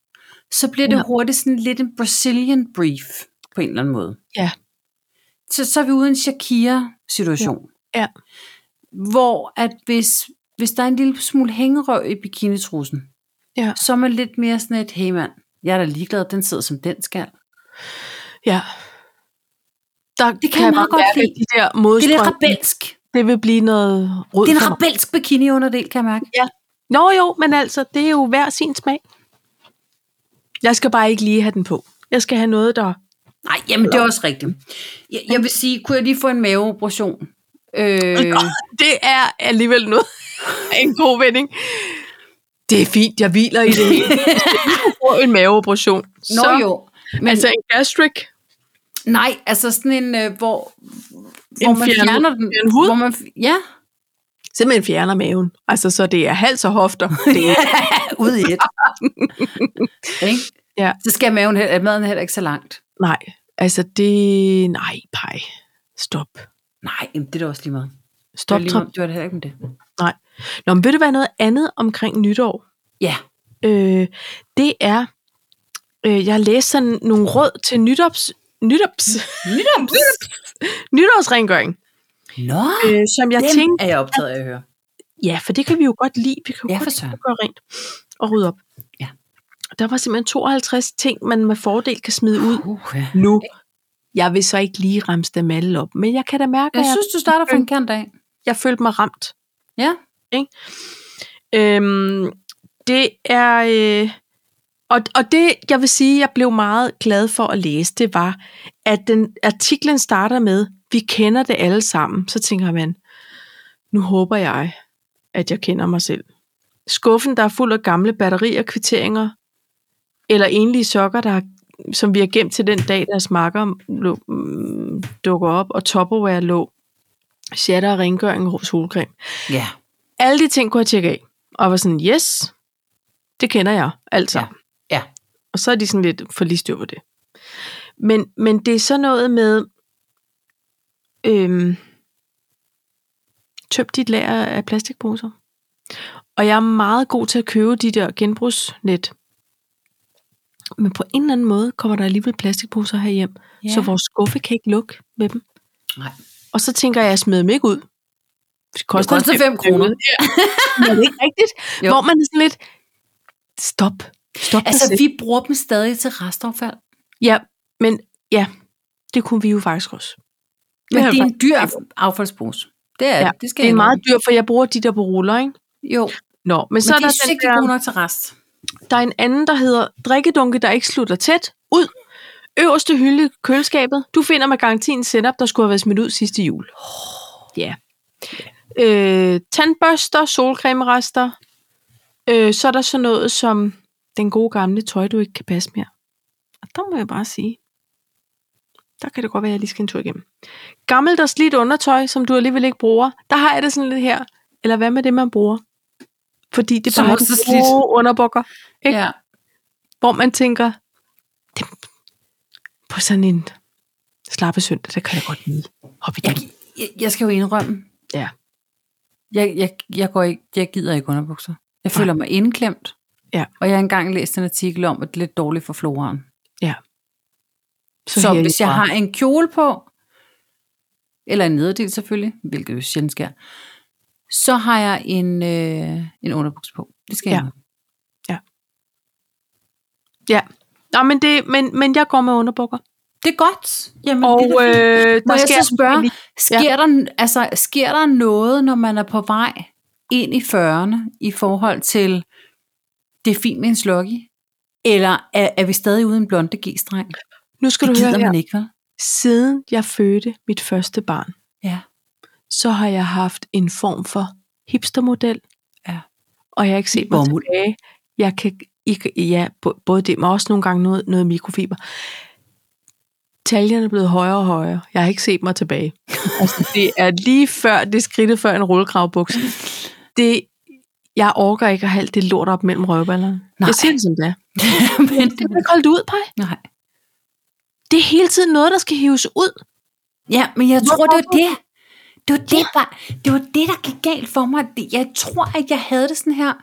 Speaker 2: så bliver det
Speaker 1: Ja.
Speaker 2: hurtigt sådan lidt en Brazilian brief, på en eller anden måde.
Speaker 1: Ja.
Speaker 2: Så, så er vi ude i en Shakira-situation.
Speaker 1: Ja. Ja.
Speaker 2: Hvor at hvis, hvis der er en lille smule hængerøv i bikinitrussen,
Speaker 1: Ja.
Speaker 2: så er man lidt mere sådan et, hey mand, jeg er da ligeglad, den sidder som den skal.
Speaker 1: Ja. Der det
Speaker 2: kan jeg meget godt
Speaker 1: mærke, at
Speaker 2: lide.
Speaker 1: De der
Speaker 2: Det er lidt
Speaker 1: modstrøm, det,
Speaker 2: rebelsk.
Speaker 1: det vil blive noget rød
Speaker 2: Det er en
Speaker 1: for mig.
Speaker 2: rebelsk bikini-underdel, kan jeg mærke.
Speaker 1: Nå jo, men altså, det er jo hver sin smag. Jeg skal bare ikke lige have den på. Jeg skal have noget, der...
Speaker 2: Nej, jamen det er også rigtigt. Jeg, jeg vil sige, kunne jeg lige få en maveoperation? Øh,
Speaker 1: Det er alligevel noget af en god vending. Det er fint, jeg hviler i det hele. Hvis du får en maveoperation.
Speaker 2: Nå
Speaker 1: så,
Speaker 2: jo. Men
Speaker 1: Altså
Speaker 2: altså,
Speaker 1: en gastric,
Speaker 2: nej, altså sådan en, øh, hvor, hvor man
Speaker 1: fjernet-
Speaker 2: fjerner den.
Speaker 1: fjernet hud?
Speaker 2: Hvor man, ja,
Speaker 1: simpelthen fjerner maven. Altså, så det er hals og hofter. Det er
Speaker 2: ud i et. Ikke?
Speaker 1: Ja.
Speaker 2: Så skal maven, heller- maden heller ikke så langt.
Speaker 1: Nej, altså det... Nej, pej. Stop.
Speaker 2: Nej, jamen, det er da også lige meget. Det var,
Speaker 1: Stop,
Speaker 2: lige
Speaker 1: Trump.
Speaker 2: meget. det var da heller ikke med det.
Speaker 1: Nej. Nå, men vil det være noget andet omkring nytår?
Speaker 2: Ja,
Speaker 1: Øh, det er... Øh, jeg læste sådan nogle råd til nytårs, nytårs,
Speaker 2: Nytårs.
Speaker 1: nytårsrengøring,
Speaker 2: Nå,
Speaker 1: øh, som jeg
Speaker 2: dem
Speaker 1: tænkte,
Speaker 2: er jeg optaget af at høre.
Speaker 1: ja, for det kan vi jo godt lide. Vi kan jo
Speaker 2: Ja,
Speaker 1: godt
Speaker 2: for
Speaker 1: lide
Speaker 2: søren.
Speaker 1: at gøre rent og rydde op.
Speaker 2: Ja.
Speaker 1: Der var simpelthen 52 ting, man med fordel kan smide ud
Speaker 2: Uh, ja.
Speaker 1: nu. Jeg vil så ikke lige ramse dem alle op, men jeg kan da mærke,
Speaker 2: Jeg
Speaker 1: at jeg,
Speaker 2: synes, du starter fra en kant af.
Speaker 1: jeg følte mig ramt.
Speaker 2: Ja.
Speaker 1: Øhm, det er... Øh, og, og det, jeg vil sige, jeg blev meget glad for at læse, det var, at den, artiklen starter med, vi kender det alle sammen. Så tænker man, nu håber jeg, at jeg kender mig selv. Skuffen, der er fuld af gamle batterier, kvitteringer, eller enlige sokker, der har, som vi har gemt til den dag, deres makker lå, mm, dukker op, og Tupperware lå, shatter og rengøring og solcreme
Speaker 2: Ja.
Speaker 1: alle de ting kunne jeg tjekke af. Og var sådan, yes, det kender jeg, altså.
Speaker 2: Ja. Ja.
Speaker 1: Og så er de sådan lidt for lige styr på det. Men, men det er så noget med, øhm, tøm dit lager af plastikposer. Og jeg er meget god til at købe de der genbrugsnet. Men på en eller anden måde kommer der alligevel plastikposer herhjem, ja. så vores skuffe kan ikke lukke med dem.
Speaker 2: Nej.
Speaker 1: Og så tænker jeg, at jeg smider dem ikke ud. Det
Speaker 2: koster
Speaker 1: også
Speaker 2: fem kroner.
Speaker 1: Ja. Men er det ikke rigtigt?
Speaker 2: Jo.
Speaker 1: Jo. Hvor man er sådan lidt, stop. Stop
Speaker 2: Altså,
Speaker 1: altså, vi...
Speaker 2: vi bruger dem stadig til restaffald.
Speaker 1: Ja, men ja, det kunne vi jo faktisk også. Det
Speaker 2: Men
Speaker 1: har
Speaker 2: det er
Speaker 1: jeg
Speaker 2: en dyr affaldspose. Det er
Speaker 1: Ja,
Speaker 2: det. Det skal
Speaker 1: Det er
Speaker 2: jeg
Speaker 1: meget
Speaker 2: indrømme.
Speaker 1: dyrt, for jeg bruger de der på ruller, ikke?
Speaker 2: Jo,
Speaker 1: Nå, men, men
Speaker 2: men så
Speaker 1: så er
Speaker 2: de
Speaker 1: der,
Speaker 2: er
Speaker 1: den
Speaker 2: sikkert
Speaker 1: der,
Speaker 2: gode nok til rest.
Speaker 1: der er en anden, der hedder drikkedunke, der ikke slutter tæt. Ud. Øverste hylde i køleskabet. Du finder med garantien en setup, der skulle have været smidt ud sidste jul.
Speaker 2: Oh.
Speaker 1: Ja. Øh, tandbørster, solcremerester. Øh, så er der sådan noget som den gode gamle tøj, du ikke kan passe mere. Og der må jeg bare sige, der kan det godt være, at jeg lige skal en tur igennem. Gammelt og slidt undertøj, som du alligevel ikke bruger, der har jeg det sådan lidt her. Eller hvad med det, man bruger? Fordi det
Speaker 2: Som
Speaker 1: bare er
Speaker 2: også
Speaker 1: de
Speaker 2: er slidt.
Speaker 1: gode underbukker Ikke?
Speaker 2: Ja.
Speaker 1: hvor man tænker, det, på sådan en slappe søndag, der kan jeg godt lige hoppe i
Speaker 2: Jeg,
Speaker 1: den.
Speaker 2: jeg, jeg skal jo indrømme.
Speaker 1: Ja.
Speaker 2: Jeg, jeg, jeg, går ikke, jeg gider ikke underbukser. Jeg føler mig indklemt.
Speaker 1: Ja.
Speaker 2: Og jeg har engang læst en artikel om, at det er lidt dårligt for floraen. Så, så
Speaker 1: herinde
Speaker 2: hvis jeg
Speaker 1: fra.
Speaker 2: har en kjole på, eller en nederdel selvfølgelig, hvilket jo sjældent sker, så har jeg en, øh, en underbuks på. Det skal
Speaker 1: Ja.
Speaker 2: jeg. indrømme.
Speaker 1: Ja. Nå, men, det, men, men jeg går med underbukker.
Speaker 2: Det er godt. Jamen,
Speaker 1: Og
Speaker 2: det er da fint.
Speaker 1: øh, der
Speaker 2: Må jeg
Speaker 1: sker
Speaker 2: så spørge,
Speaker 1: lige-
Speaker 2: Sker, ja. der, altså, sker der noget, når man er på vej ind i 40'erne i forhold til, det er fint med en sloggy? Eller er, er vi stadig uden blonde G-streng?
Speaker 1: Nu skal
Speaker 2: Det
Speaker 1: du høre
Speaker 2: gider
Speaker 1: her.
Speaker 2: man ikke, vel?
Speaker 1: Siden jeg fødte mit første barn,
Speaker 2: Ja.
Speaker 1: så har jeg haft en form for hipstermodel.
Speaker 2: Ja.
Speaker 1: Og jeg har ikke set mig
Speaker 2: Bomuld.
Speaker 1: tilbage. Jeg kan ikke, ja, bo- både det, men også nogle gange noget, noget mikrofiber. Taljerne er blevet højere og højere. Jeg har ikke set mig tilbage. altså, det er lige før, det er skridtet før en rullekravbukse. Det, jeg orker ikke at have alt det lort op mellem røvballerne.
Speaker 2: Nej.
Speaker 1: Jeg siger det som det er.
Speaker 2: Men
Speaker 1: Det kan ikke holde det ud, Paj.
Speaker 2: nej.
Speaker 1: Det er hele tiden noget, der skal hives ud.
Speaker 2: Ja, men jeg tror, det var
Speaker 1: Hvorfor?
Speaker 2: det. Det var det, bare, det var det, der gik galt for mig. Det- Jeg tror, at jeg havde det sådan her,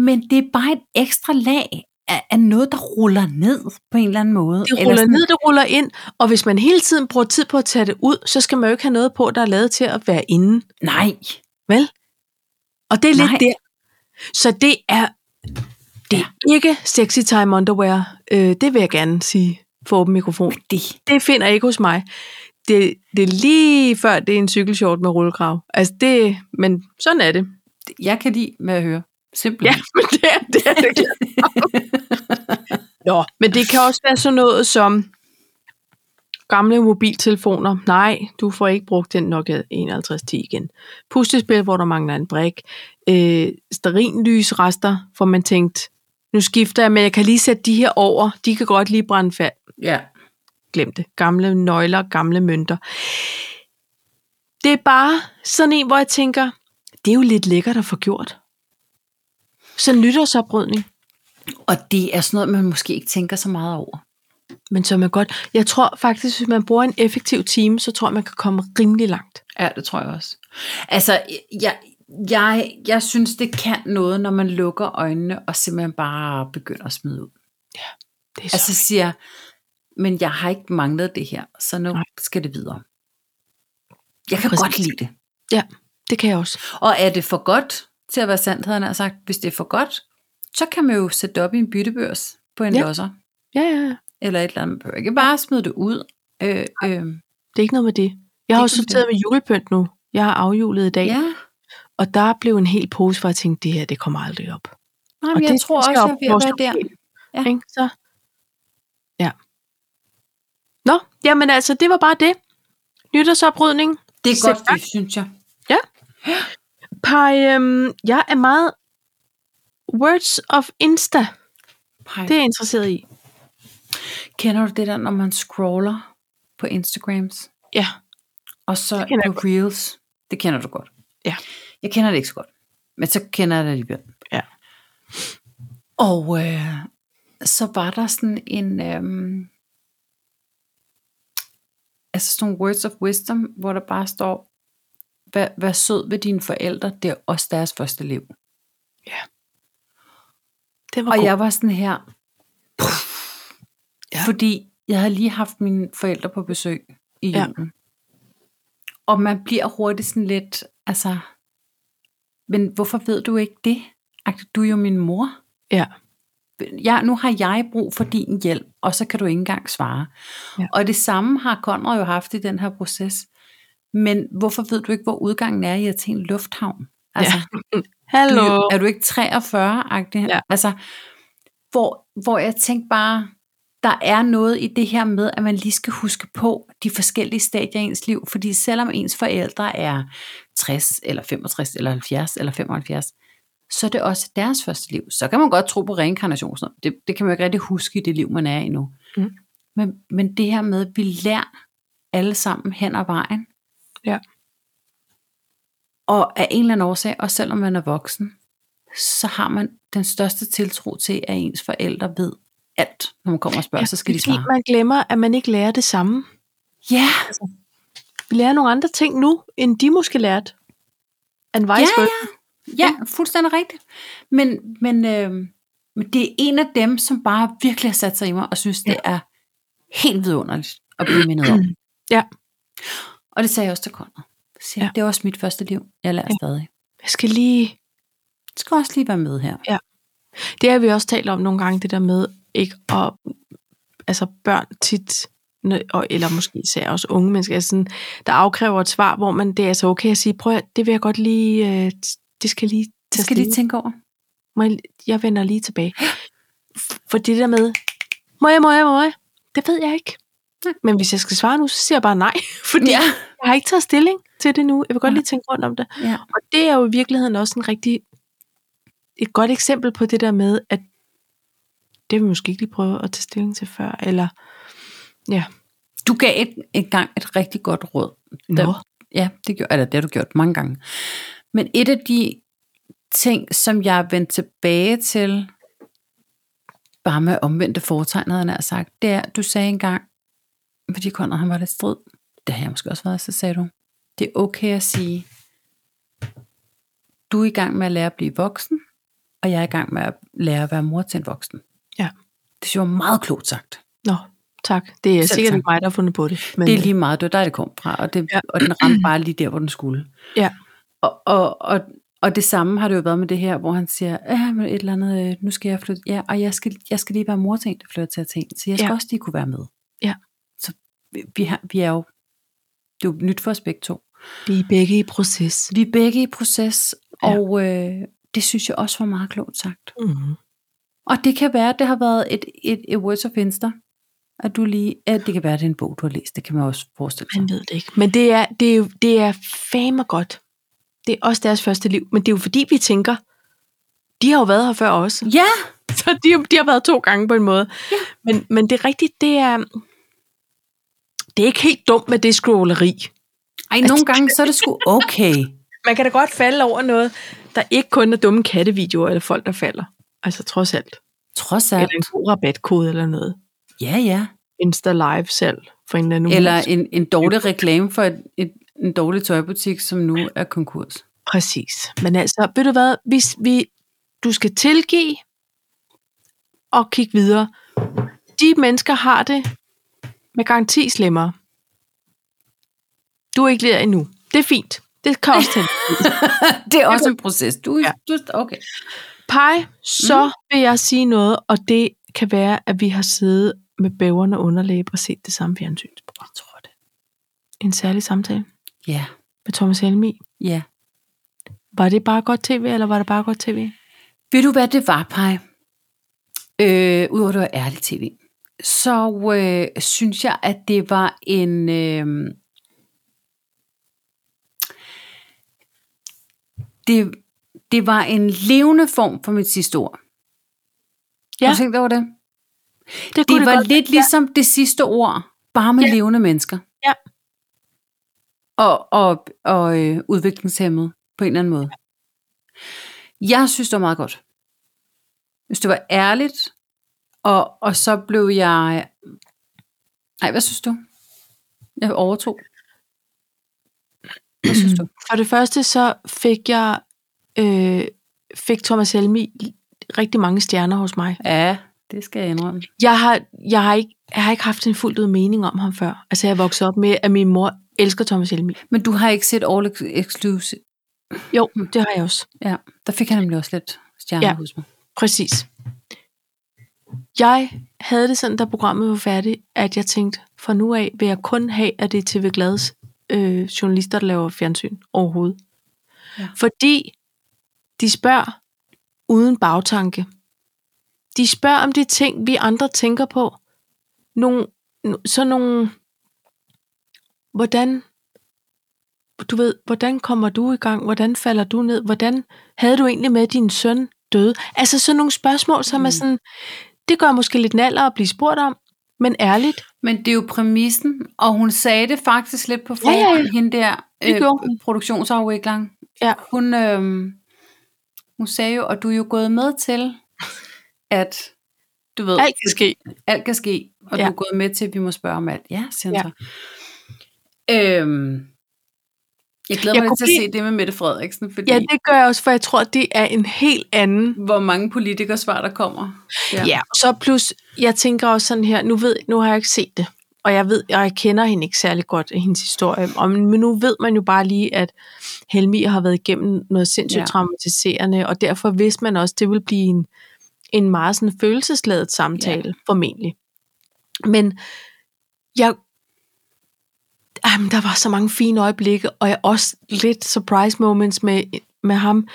Speaker 2: men det er bare et ekstra lag af, af noget, der ruller ned på en eller anden måde.
Speaker 1: Det
Speaker 2: Eller
Speaker 1: ruller
Speaker 2: sådan-
Speaker 1: ned, det ruller ind, og hvis man hele tiden bruger tid på at tage det ud, så skal man jo ikke have noget på, der er lavet til at være inde.
Speaker 2: Nej,
Speaker 1: Vel? Og det er
Speaker 2: Nej.
Speaker 1: lidt der. Så det er, det er ikke sexy time underwear. Øh, det vil jeg gerne sige for åben mikrofon.
Speaker 2: det
Speaker 1: Det finder jeg ikke hos mig. Det, det er lige før, det er en cykelshort med rullekrav. Altså det, men sådan er det.
Speaker 2: jeg kan lide med at høre.
Speaker 1: Ja,
Speaker 2: Simpelthen.
Speaker 1: men det er det. Er, det klart. Nå, men det kan også være sådan noget som gamle mobiltelefoner. Nej, du får ikke brugt den Nokia 5110 igen. Pustespil, hvor der mangler en brik. Øh, Sterinlysrester, hvor man tænkte, nu skifter jeg, men jeg kan lige sætte de her over. De kan godt lige brænde fat.
Speaker 2: ja.
Speaker 1: Glem det. Gamle nøgler, gamle mønter. Det er bare sådan en, hvor jeg tænker, det er jo lidt lækkert at få gjort. Så nytårsoprydning.
Speaker 2: Og det er sådan noget, man måske ikke tænker så meget over.
Speaker 1: Men så er man godt. Jeg tror faktisk, hvis man bruger en effektiv time, så tror jeg, man kan komme rimelig langt.
Speaker 2: Ja, det tror jeg også. Altså, jeg, jeg, jeg synes, det kan noget, når man lukker øjnene og simpelthen bare begynder at smide ud.
Speaker 1: Det er så
Speaker 2: Altså siger, Men jeg har ikke manglet det her, så nu
Speaker 1: Nej.
Speaker 2: skal det videre. Jeg kan
Speaker 1: Præcis.
Speaker 2: godt lide det.
Speaker 1: Ja, det kan jeg også.
Speaker 2: Og er det for godt til at være sandt, havde han nær sagt. Hvis det er for godt, så kan man jo sætte det op i en byttebørs på en
Speaker 1: Ja.
Speaker 2: ja. losser.
Speaker 1: Ja, ja, ja.
Speaker 2: Eller et eller andet. Man behøver ikke bare smide det ud. Øh, øh,
Speaker 1: Det er ikke noget med det. Jeg har
Speaker 2: Det
Speaker 1: også
Speaker 2: kan vi
Speaker 1: sorteret med julepynt nu. Jeg har afjulet i dag, ja.
Speaker 2: ja.
Speaker 1: og der blev en hel pose, hvor jeg tænkte, det her, det kommer aldrig op.
Speaker 2: Nej,
Speaker 1: og
Speaker 2: men jeg
Speaker 1: det
Speaker 2: tror
Speaker 1: skal
Speaker 2: også,
Speaker 1: op
Speaker 2: jeg
Speaker 1: på
Speaker 2: vil
Speaker 1: vores
Speaker 2: være der.
Speaker 1: lokale.
Speaker 2: Ja.
Speaker 1: Ikke? Så. Ja. Nå, jamen altså, det var bare det. Nytårsoprydning.
Speaker 2: Det er godt,
Speaker 1: Selv tak.
Speaker 2: det synes jeg.
Speaker 1: Par, øhm, jeg er meget words of Insta.
Speaker 2: Pej.
Speaker 1: Det er jeg interesseret i.
Speaker 2: Kender du det der, når man scroller på Instagrams,
Speaker 1: Ja.
Speaker 2: og så
Speaker 1: Det kender jeg
Speaker 2: på Reels? Det kender du godt.
Speaker 1: Ja.
Speaker 2: Jeg kender det ikke så godt, men så kender jeg det alligevel.
Speaker 1: Ja.
Speaker 2: Og øh, så var der sådan en, øh, altså sådan nogle words of wisdom, hvor der bare står, vær, vær sød ved dine forældre, det er også deres første liv.
Speaker 1: Det var
Speaker 2: Og
Speaker 1: god.
Speaker 2: jeg var sådan her,
Speaker 1: Ja.
Speaker 2: ja. fordi jeg havde lige haft mine forældre på besøg i
Speaker 1: Ja.
Speaker 2: julen. Og man bliver hurtigt sådan lidt, altså, men hvorfor ved du ikke det? Agtigt, Du er jo min mor.
Speaker 1: Ja.
Speaker 2: Jeg, nu har jeg brug for din hjælp, og så kan du ikke engang svare.
Speaker 1: Ja.
Speaker 2: Ja. Og det samme har Conrad jo haft i den her proces. Men hvorfor ved du ikke, hvor udgangen er i at en lufthavn? Altså, ja.
Speaker 1: Hallo.
Speaker 2: Du, er du ikke 43-agtig?
Speaker 1: Ja.
Speaker 2: Altså, hvor, hvor jeg tænkte bare, der er noget i det her med, at man lige skal huske på de forskellige stadier i ens liv, fordi selvom ens forældre er 60, eller 65, eller 70, eller 75, så er det også deres første liv. Så kan man godt tro på reinkarnation. og sådan noget. Det, det kan man jo ikke rigtig huske i det liv, man er i nu.
Speaker 1: Mm.
Speaker 2: Men, men det her med, at vi lærer alle sammen hen ad vejen,
Speaker 1: Ja.
Speaker 2: og af en eller anden årsag, også selvom man er voksen, så har man den største tiltro til, at ens forældre ved alt, når man kommer og spørger, ja, så skal
Speaker 1: det
Speaker 2: de
Speaker 1: er fordi,
Speaker 2: svare.
Speaker 1: man glemmer, at man ikke lærer det samme.
Speaker 2: Ja,
Speaker 1: Vi lærer nogle andre ting nu, end de måske lærte. And vice
Speaker 2: Ja,
Speaker 1: versa.
Speaker 2: ja, fuldstændig rigtigt. Men, men, øh, men det er en af dem, som bare virkelig har sat sig i mig, og synes, det er helt vidunderligt at blive mindet om.
Speaker 1: Ja.
Speaker 2: Og det sagde jeg også til Conrad. Så siger jeg, Det er også mit første liv. Jeg lærer
Speaker 1: Ja.
Speaker 2: ja. stadig.
Speaker 1: Jeg skal lige...
Speaker 2: Jeg skal også lige være med her.
Speaker 1: Det har vi også talt om nogle gange, det der med ikke at... Altså børn tit, nø- og, eller måske især også unge mennesker, altså sådan, der afkræver et svar, hvor man, det er altså okay at sige, prøv at, det vil jeg godt lige... Øh, t- det skal lige
Speaker 2: Det
Speaker 1: tage
Speaker 2: skal jeg lige tænke over.
Speaker 1: Må jeg, jeg vender lige tilbage. For det der med, må jeg, må jeg, må jeg, det ved jeg ikke. Men hvis jeg skal svare nu, så siger jeg bare nej, fordi ja.
Speaker 2: Ja.
Speaker 1: jeg har ikke taget stilling til det nu. Jeg vil godt lige tænke rundt om det.
Speaker 2: Ja.
Speaker 1: Og det er jo i virkeligheden også en rigtig, et godt eksempel på det der med, at det vil vi måske ikke lige prøve at tage stilling til før, eller ja,
Speaker 2: Du gav et, et gang et rigtig godt råd.
Speaker 1: nå,
Speaker 2: Der, ja, det, gjorde, eller, det har du gjort mange gange. Men et af de ting, som jeg er vendt tilbage til, bare med omvendte foretegn, havde jeg nær sagt, det er, du sagde engang, fordi Conrad han var lidt strid, det har jeg måske også været, så sagde du, det er okay at sige, du er i gang med at lære at blive voksen, og jeg er i gang med at lære at være mor til en voksen.
Speaker 1: Ja.
Speaker 2: Det synes jeg var meget klogt sagt.
Speaker 1: nå, tak. Det er
Speaker 2: Selv
Speaker 1: sikkert
Speaker 2: tak.
Speaker 1: ikke mig, der har fundet på det. Men,
Speaker 2: Det er lige meget, det var der, det kom fra, og, det,
Speaker 1: Ja.
Speaker 2: ja. og den ramte bare lige der, hvor den skulle.
Speaker 1: Ja.
Speaker 2: Og, og, og, og det samme har det jo været med det her, hvor han siger, ja, men et eller andet, øh, nu skal jeg flytte, ja, og jeg skal, jeg skal lige være mor til en, der flytter til Athen, så jeg skal
Speaker 1: Ja.
Speaker 2: ja. også lige kunne være med.
Speaker 1: Ja.
Speaker 2: Så vi, vi, har, vi er jo, det er jo nyt for os begge to.
Speaker 1: Vi er begge i proces.
Speaker 2: Vi er begge i proces,
Speaker 1: Ja.
Speaker 2: ja. og øh, det synes jeg også var meget klogt sagt.
Speaker 1: Mm-hmm.
Speaker 2: Og det kan være, at det har været et, et, et words of Insta, at du lige, ja, det kan være, at det er en bog, du har læst, det kan man også forestille sig.
Speaker 1: Man ved det ikke. Men det er, det er, jo- det er fame godt. Det er også deres første liv. Men det er jo fordi, vi tænker, de har jo været her før os.
Speaker 2: Ja,
Speaker 1: Så de, de har været to gange på en måde. Ja. Men, men det er rigtigt, det er... Det er ikke helt dumt med det scrolleri.
Speaker 2: Ej, nogle gange, så er det sgu okay.
Speaker 1: Man kan da godt falde over noget, der ikke kun er dumme kattevideoer eller folk, der falder. Altså trods alt.
Speaker 2: Trods
Speaker 1: Eller en
Speaker 2: alt.
Speaker 1: god rabatkode eller noget.
Speaker 2: Ja, ja. Insta.
Speaker 1: Insta live selv for en eller anden
Speaker 2: Eller
Speaker 1: uge.
Speaker 2: en, en dårlig reklame for et, et, en dårlig tøjbutik, som nu er konkurs.
Speaker 1: Præcis. Men altså, ved du hvad, hvis vi, du skal tilgive og kigge videre. De mennesker har det Med garanti slemmere. Du er ikke der endnu. Det er fint. Det kan også tage.
Speaker 2: Det er også en proces. Du,
Speaker 1: Ja.
Speaker 2: ja. du okay.
Speaker 1: Pej, så mm. vil jeg sige noget, og det kan være, at vi har siddet med bæverne og underlæbe og set det samme fjernsynsprogram. Jeg tror det. En særlig samtale
Speaker 2: Ja,
Speaker 1: med Thomas Helmi.
Speaker 2: ja.
Speaker 1: Var det bare godt tv, eller var det bare godt tv?
Speaker 2: Ved du, hvad det var, Paj? Øh, Udover at det var ærligt tv. Så øh, synes jeg, at det var en... Øh, det, det var en levende form for mit sidste ord.
Speaker 1: Ja.
Speaker 2: Har du tænkt over det?
Speaker 1: Det,
Speaker 2: Det var
Speaker 1: godt
Speaker 2: lidt
Speaker 1: være.
Speaker 2: ligesom det sidste ord, bare med
Speaker 1: Ja.
Speaker 2: ja. levende mennesker.
Speaker 1: Ja.
Speaker 2: Og, og, og øh, udviklingshemmet på en eller anden måde. Jeg synes, det var meget godt. Jeg synes, det var ærligt. Og, og så blev jeg... Nej, hvad synes du? Jeg overtog. Hvad synes du?
Speaker 1: For det første så fik jeg øh, fik Thomas Helmi rigtig mange stjerner hos mig.
Speaker 2: Ja, det skal jeg indrømme.
Speaker 1: Jeg har, jeg har, ikke, jeg har ikke haft en fuldt ud mening om ham før. Altså jeg voksede op med, at min mor elsker Thomas Helmi.
Speaker 2: Men du har ikke set All Exclusive.
Speaker 1: Jo, det har jeg også.
Speaker 2: Ja, der fik han nemlig også lidt stjerner
Speaker 1: Ja.
Speaker 2: ja. hos mig.
Speaker 1: Præcis. Jeg havde det sådan, da programmet var færdigt, at jeg tænkte, fra nu af vil jeg kun have, at det er TV Glads øh, journalister, der laver fjernsyn overhovedet. Ja.
Speaker 2: Ja.
Speaker 1: Fordi de spørger uden bagtanke. De spørger om de ting, vi andre tænker på. Nogle, n- så nogle, hvordan, du ved, hvordan kommer du i gang? Hvordan falder du ned? Hvordan havde du egentlig med, at din søn døde? Altså sådan nogle spørgsmål, som mm. er
Speaker 2: Mm.
Speaker 1: sådan, det gør måske lidt naller at blive spurgt om, men ærligt,
Speaker 2: Men det er jo præmissen, og hun sagde det faktisk lidt på
Speaker 1: Ja, ja, ja.
Speaker 2: forhånd, ja, ja, ja. hende der
Speaker 1: Det gjorde hun.
Speaker 2: øh, produktionsafvikling.
Speaker 1: Ja.
Speaker 2: Hun, øh, hun sagde jo, og du er jo gået med til, at du ved,
Speaker 1: alt kan ske.
Speaker 2: alt kan ske, og
Speaker 1: Ja.
Speaker 2: ja. du er gået med til, at vi må spørge om alt. Ja, siger
Speaker 1: Ja.
Speaker 2: ja. Øhm, jeg
Speaker 1: Jeg
Speaker 2: glæder jeg
Speaker 1: kunne
Speaker 2: mig lidt til at se det med Mette Frederiksen, fordi
Speaker 1: Ja,
Speaker 2: ja,
Speaker 1: det gør jeg også, for jeg tror, det er en helt anden
Speaker 2: det... hvor mange politikersvar, der kommer.
Speaker 1: Ja. ja, og så plus, jeg tænker også sådan her, nu ved, nu har jeg ikke set det, og jeg ved, og jeg kender hende ikke særlig godt, hendes historie, og, men nu ved man jo bare lige, at Helmi har været igennem noget sindssygt ja.
Speaker 2: Ja.
Speaker 1: traumatiserende, og derfor vidste man også, det vil blive en, en meget sådan følelsesladet samtale, ja. formentlig. Men jeg, jamen, der var så mange fine øjeblikke, og jeg også lidt surprise moments med, med ham.